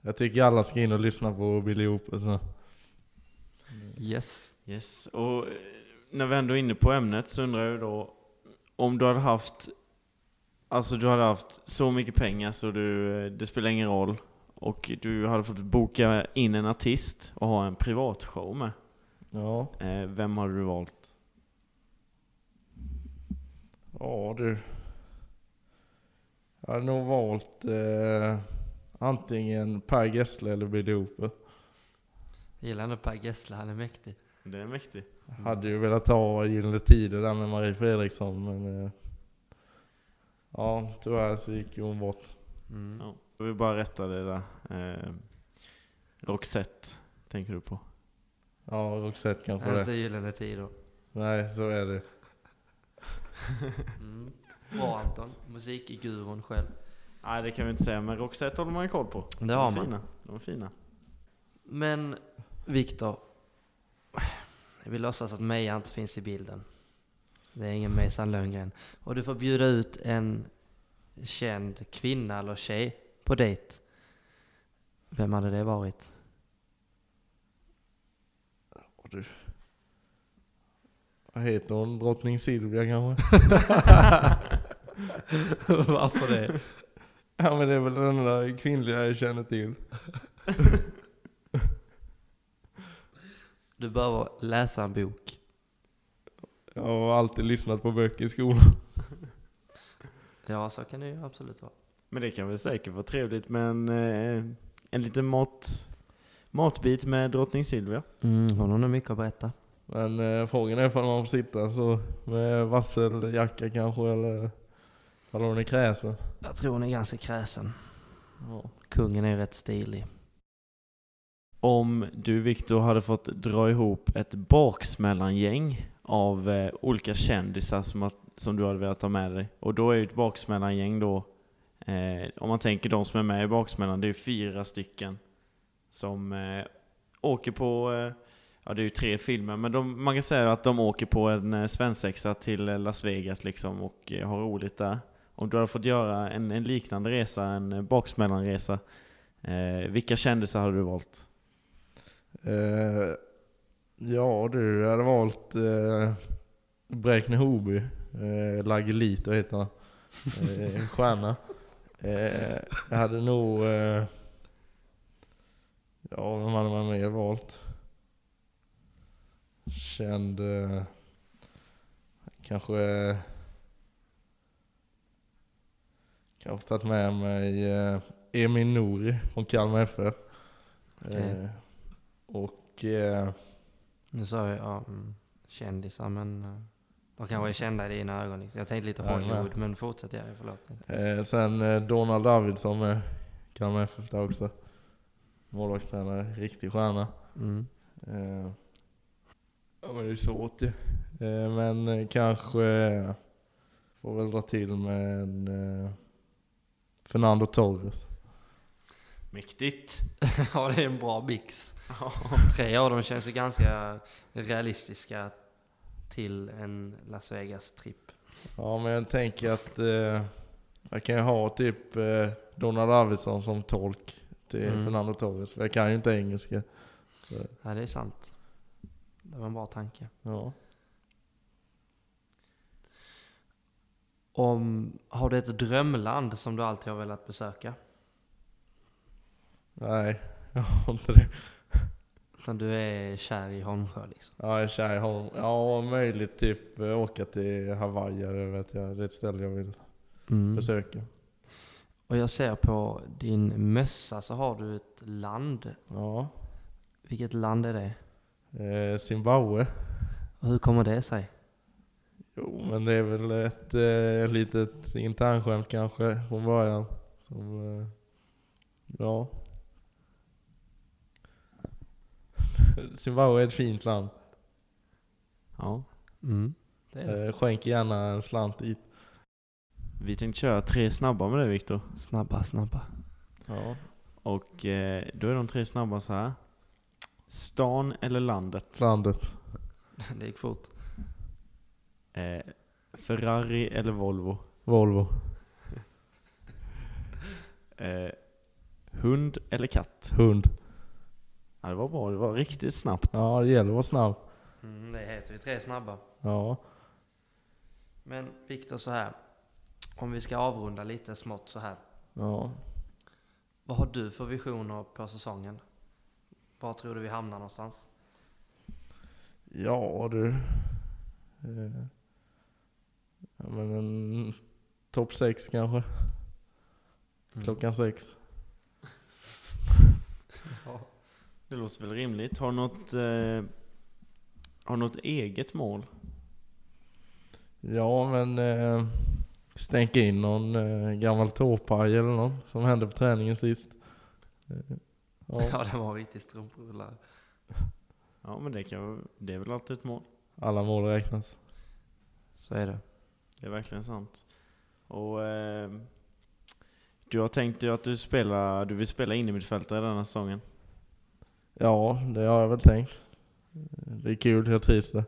Speaker 3: Jag tycker alla ska in och lyssna på Billy alltså. Opel så.
Speaker 1: Yes.
Speaker 2: Yes, och eh, när vi ändå är inne på ämnet så undrar jag då om du hade haft Alltså du hade haft så mycket pengar så du, eh, det spelar ingen roll och du hade fått boka in en artist och ha en privatshow med.
Speaker 3: Ja.
Speaker 2: Eh, vem hade du valt?
Speaker 3: Ja du. Jag hade nog valt eh, antingen Per Gessle eller Billy Hooper.
Speaker 1: Jag gillar ändå Per Gessle, han är mäktig.
Speaker 2: Det är mäktigt.
Speaker 3: Hade ju velat ta Gyllene Tider där med Marie Fredriksson men... Eh, ja tyvärr så gick ju hon bort.
Speaker 1: Mm.
Speaker 2: Ja. Jag vill bara rätta det där. Eh, Roxette tänker du på.
Speaker 3: Ja Roxette kanske
Speaker 1: Inte
Speaker 3: det.
Speaker 1: Gyllene Tider.
Speaker 3: Nej så är det.
Speaker 1: Mm. Bra Anton, musik i guron själv.
Speaker 2: Nej det kan vi inte säga, men Roxette håller man ju koll på.
Speaker 1: Det har
Speaker 2: de är
Speaker 1: man.
Speaker 2: fina. De är fina.
Speaker 1: Men Viktor, vi låtsas att Meja inte finns i bilden. Det är ingen Mejsan Lönngren. Och du får bjuda ut en känd kvinna eller tjej på dejt. Vem hade det varit?
Speaker 3: Vad heter hon? Drottning Silvia kanske?
Speaker 1: Varför det?
Speaker 3: ja men det är väl den enda kvinnliga jag känner till.
Speaker 1: Du behöver läsa en bok.
Speaker 3: Jag har alltid lyssnat på böcker i skolan.
Speaker 1: Ja, så kan det ju absolut vara.
Speaker 2: Men det kan väl säkert vara trevligt med en, eh, en liten mat, matbit med drottning Silvia.
Speaker 1: Mm, hon har nog mycket att berätta.
Speaker 3: Men eh, frågan är ifall man får sitta så med vasseljacka kanske eller ifall hon är kräsen.
Speaker 1: Jag tror hon är ganska kräsen.
Speaker 3: Ja.
Speaker 1: Kungen är ju rätt stilig.
Speaker 2: Om du Viktor hade fått dra ihop ett baksmällangäng av eh, olika kändisar som, att, som du hade velat ta med dig. Och då är ju ett baksmällangäng då, eh, om man tänker de som är med i baksmällan, det är ju fyra stycken som eh, åker på, eh, ja det är ju tre filmer, men de, man kan säga att de åker på en eh, svensexa till eh, Las Vegas liksom och eh, har roligt där. Om du hade fått göra en, en liknande resa, en eh, baksmällanresa, eh, vilka kändisar hade du valt?
Speaker 3: Eh, ja du, jag hade valt eh, Bräkne Hoby. Eh, Lagelito heter han. Eh, en stjärna. Eh, jag hade nog... Eh, ja, vem hade man mer valt? Känd... Eh, kanske... Eh, kanske tagit med mig eh, Emin Nouri från Kalmar FF.
Speaker 1: Okej.
Speaker 3: Eh, och... Eh,
Speaker 1: Nu sa jag ja, mm, kändisar, men eh, de kanske är kända i dina ögon. liksom. Jag tänkte lite
Speaker 3: Ja,
Speaker 1: Hollywood,
Speaker 3: ja.
Speaker 1: men fortsätt jag, förlåt.
Speaker 3: Eh, sen eh, Donald Davidsson med Kalmar FF där också. Målvaktstränare, riktig stjärna.
Speaker 1: Mm.
Speaker 3: Eh, ja men det är ju svårt ju. Eh, men eh, kanske eh, får väl dra till med en eh, Fernando Torres.
Speaker 2: Mäktigt!
Speaker 1: ja, det är en bra mix. Tre av dem känns ju ganska realistiska till en Las Vegas-tripp.
Speaker 3: Ja men jag tänker att eh, jag kan ju ha typ eh, Donald Davidsson som tolk till
Speaker 1: Mm.
Speaker 3: Fernando Torres. För jag kan ju inte engelska.
Speaker 1: Ja, det är sant. Det var en bra tanke.
Speaker 3: Ja.
Speaker 1: Om, har du ett drömland som du alltid har velat besöka?
Speaker 3: Nej, jag har inte det.
Speaker 1: Utan du är kär i Holmsjö liksom.
Speaker 3: Ja, jag kör i Holm. Ja, om möjligt typ eh, åka till Hawaii eller vet jag. Det är ett ställe jag vill Mm. besöka.
Speaker 1: Och jag ser på din mössa så har du ett land.
Speaker 3: Ja.
Speaker 1: Vilket land är det?
Speaker 3: Eh, Zimbabwe.
Speaker 1: Och hur kommer det sig?
Speaker 3: Jo, men det är väl ett eh, litet internskämt kanske från början. Som, eh, ja. Zimbabwe är ett fint land.
Speaker 2: Ja.
Speaker 1: Det är det.
Speaker 3: Eh, skänk gärna en slant dit.
Speaker 2: Vi tänkte köra tre snabba med dig Viktor.
Speaker 1: Snabba, snabba.
Speaker 3: Ja.
Speaker 2: Och eh, då är de tre snabba så här. Stan eller landet?
Speaker 3: Landet.
Speaker 1: Det gick fort.
Speaker 2: Eh, Ferrari eller Volvo?
Speaker 3: Volvo.
Speaker 2: Eh, hund eller katt?
Speaker 3: Hund.
Speaker 2: Ja, det var bra. Det var riktigt snabbt.
Speaker 3: Ja, det gäller att vara snabb.
Speaker 1: Mm, det heter vi tre snabba.
Speaker 3: Ja.
Speaker 1: Men Viktor så här. Om vi ska avrunda lite smått så här.
Speaker 3: Ja.
Speaker 1: Vad har du för visioner på säsongen? Var tror du vi hamnar någonstans?
Speaker 3: Ja du. Eh. Ja, men en topp sex kanske. Klockan sex.
Speaker 2: Det låter väl rimligt. Har du något, eh, har du något eget mål?
Speaker 3: Ja men eh, stänk in någon eh, gammal tåpaj eller någon som hände på träningen sist. Eh, ja.
Speaker 1: Ja, det var en riktig strumprullare.
Speaker 2: Ja, men det, kan, det är väl alltid ett mål.
Speaker 3: Alla mål räknas.
Speaker 1: Så är det.
Speaker 2: Det är verkligen sant. Och eh, du har tänkt ju att du, spelar, du vill spela innermittfältare denna säsongen.
Speaker 3: Ja, det har jag väl tänkt. Eh, Det är kul, jag trivs där.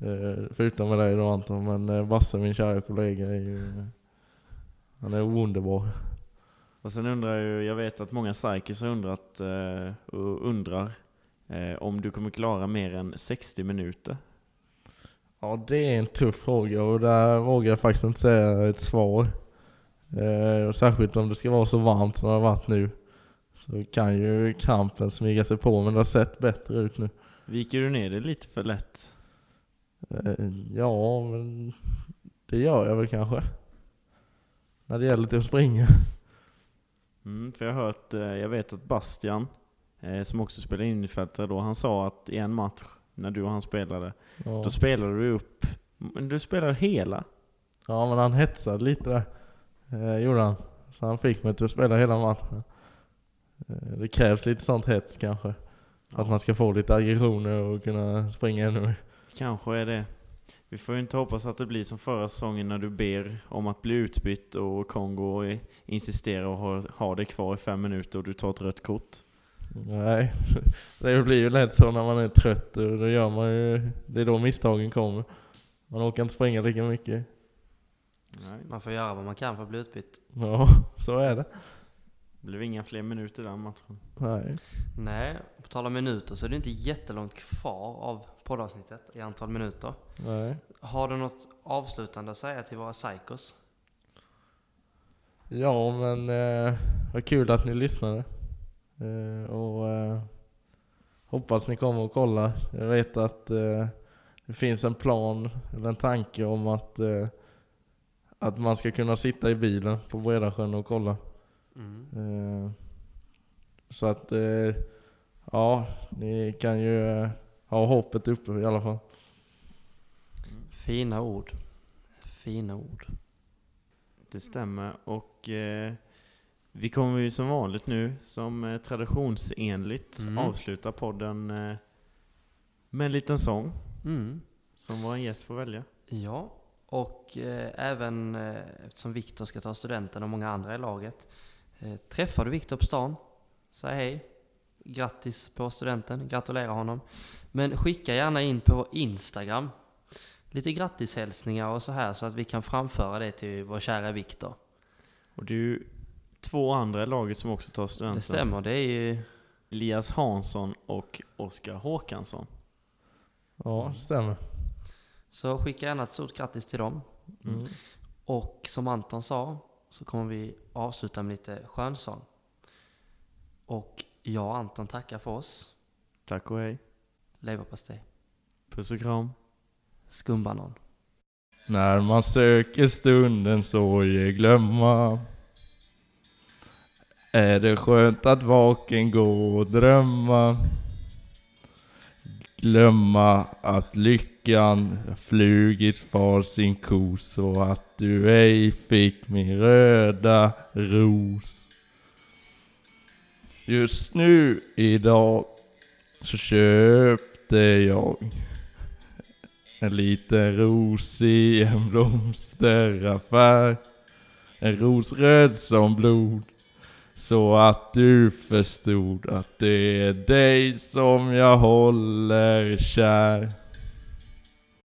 Speaker 3: Eh, Förutom med dig då Anton, men eh, Basse min kära kollega är ju... eh, Han är underbar.
Speaker 2: Och sen undrar jag, jag vet att många psykers har undrat eh, och undrar eh, om du kommer klara mer än 60 minuter.
Speaker 3: Ja, det är en tuff fråga och där vågar jag faktiskt inte säga ett svar. Eh, och särskilt om det ska vara så varmt som det har varit nu. Så kan ju krampen smyga sig på, men det har sett bättre ut nu.
Speaker 2: Viker du ner det lite för lätt?
Speaker 3: Eh, ja, men det gör jag väl kanske. När det gäller till att springa.
Speaker 2: Mm, för jag har hört, eh, jag vet att Bastian, eh, som också spelar innermittfältare då, han sa att i en match när du och han spelade,
Speaker 3: Ja.
Speaker 2: då spelade du upp, men du spelar hela.
Speaker 3: Ja men han hetsade lite där. Eh, gjorde han. Så han fick mig till att spela hela matchen. Eh, det krävs lite sånt hets kanske. För att man ska få lite aggressioner och kunna springa ännu mer.
Speaker 2: Kanske är det. Vi får ju inte hoppas att det blir som förra säsongen när du ber om att bli utbytt och Kongo i- insisterar och har, har dig kvar i fem minuter och du tar ett rött kort.
Speaker 3: Nej, det blir ju lätt så när man är trött. och Då gör man ju, det är då misstagen kommer. Man orkar inte springa lika mycket.
Speaker 2: Nej,
Speaker 1: Man får göra vad man kan för att bli utbytt.
Speaker 3: Ja, så är det.
Speaker 2: det blev inga fler minuter den matchen.
Speaker 3: Nej.
Speaker 1: Nej, och på tal om minuter så är det inte jättelångt kvar av poddavsnittet i antal minuter.
Speaker 3: Nej.
Speaker 1: Har du något avslutande att säga till våra psykos?
Speaker 3: Ja men eh, vad kul att ni lyssnade. Eh, och eh, hoppas ni kommer och kollar. Jag vet att eh, det finns en plan eller en tanke om att, eh, att man ska kunna sitta i bilen på Bredasjön och kolla.
Speaker 1: Mm.
Speaker 3: Eh, så att eh, ja, ni kan ju eh, ha hoppet uppe i alla fall.
Speaker 1: Fina ord. Fina ord.
Speaker 2: Det stämmer och eh, vi kommer ju som vanligt nu som eh, traditionsenligt
Speaker 1: Mm.
Speaker 2: avsluta podden eh, med en liten sång
Speaker 1: Mm.
Speaker 2: som vår gäst får välja.
Speaker 1: Ja, och eh, även eh, eftersom Viktor ska ta studenten och många andra i laget. Eh, träffar du Viktor på stan, säg hej. Grattis på studenten, gratulerar honom. Men skicka gärna in på vår Instagram lite grattishälsningar och så här så att vi kan framföra det till vår kära Viktor.
Speaker 2: Och det är ju två andra i laget som också tar studenten.
Speaker 1: Det stämmer, det är ju...
Speaker 2: Elias Hansson och Oskar Håkansson.
Speaker 3: Ja, det stämmer.
Speaker 1: Så skicka gärna ett stort grattis till dem.
Speaker 3: Mm.
Speaker 1: Och som Anton sa så kommer vi avsluta med lite skönsång. Och jag och Anton tackar för oss.
Speaker 2: Tack och hej.
Speaker 1: Leverpastej.
Speaker 2: Puss och kram.
Speaker 1: Skumbanan.
Speaker 3: När man söker stunden så ger glömma Är det skönt att vaken gå och drömma Glömma att lyckan flugit för sin kos så att du ej fick min röda ros Just nu idag så köpte jag en liten ros i en blomsteraffär En ros röd som blod Så att du förstod att det är dig som jag håller kär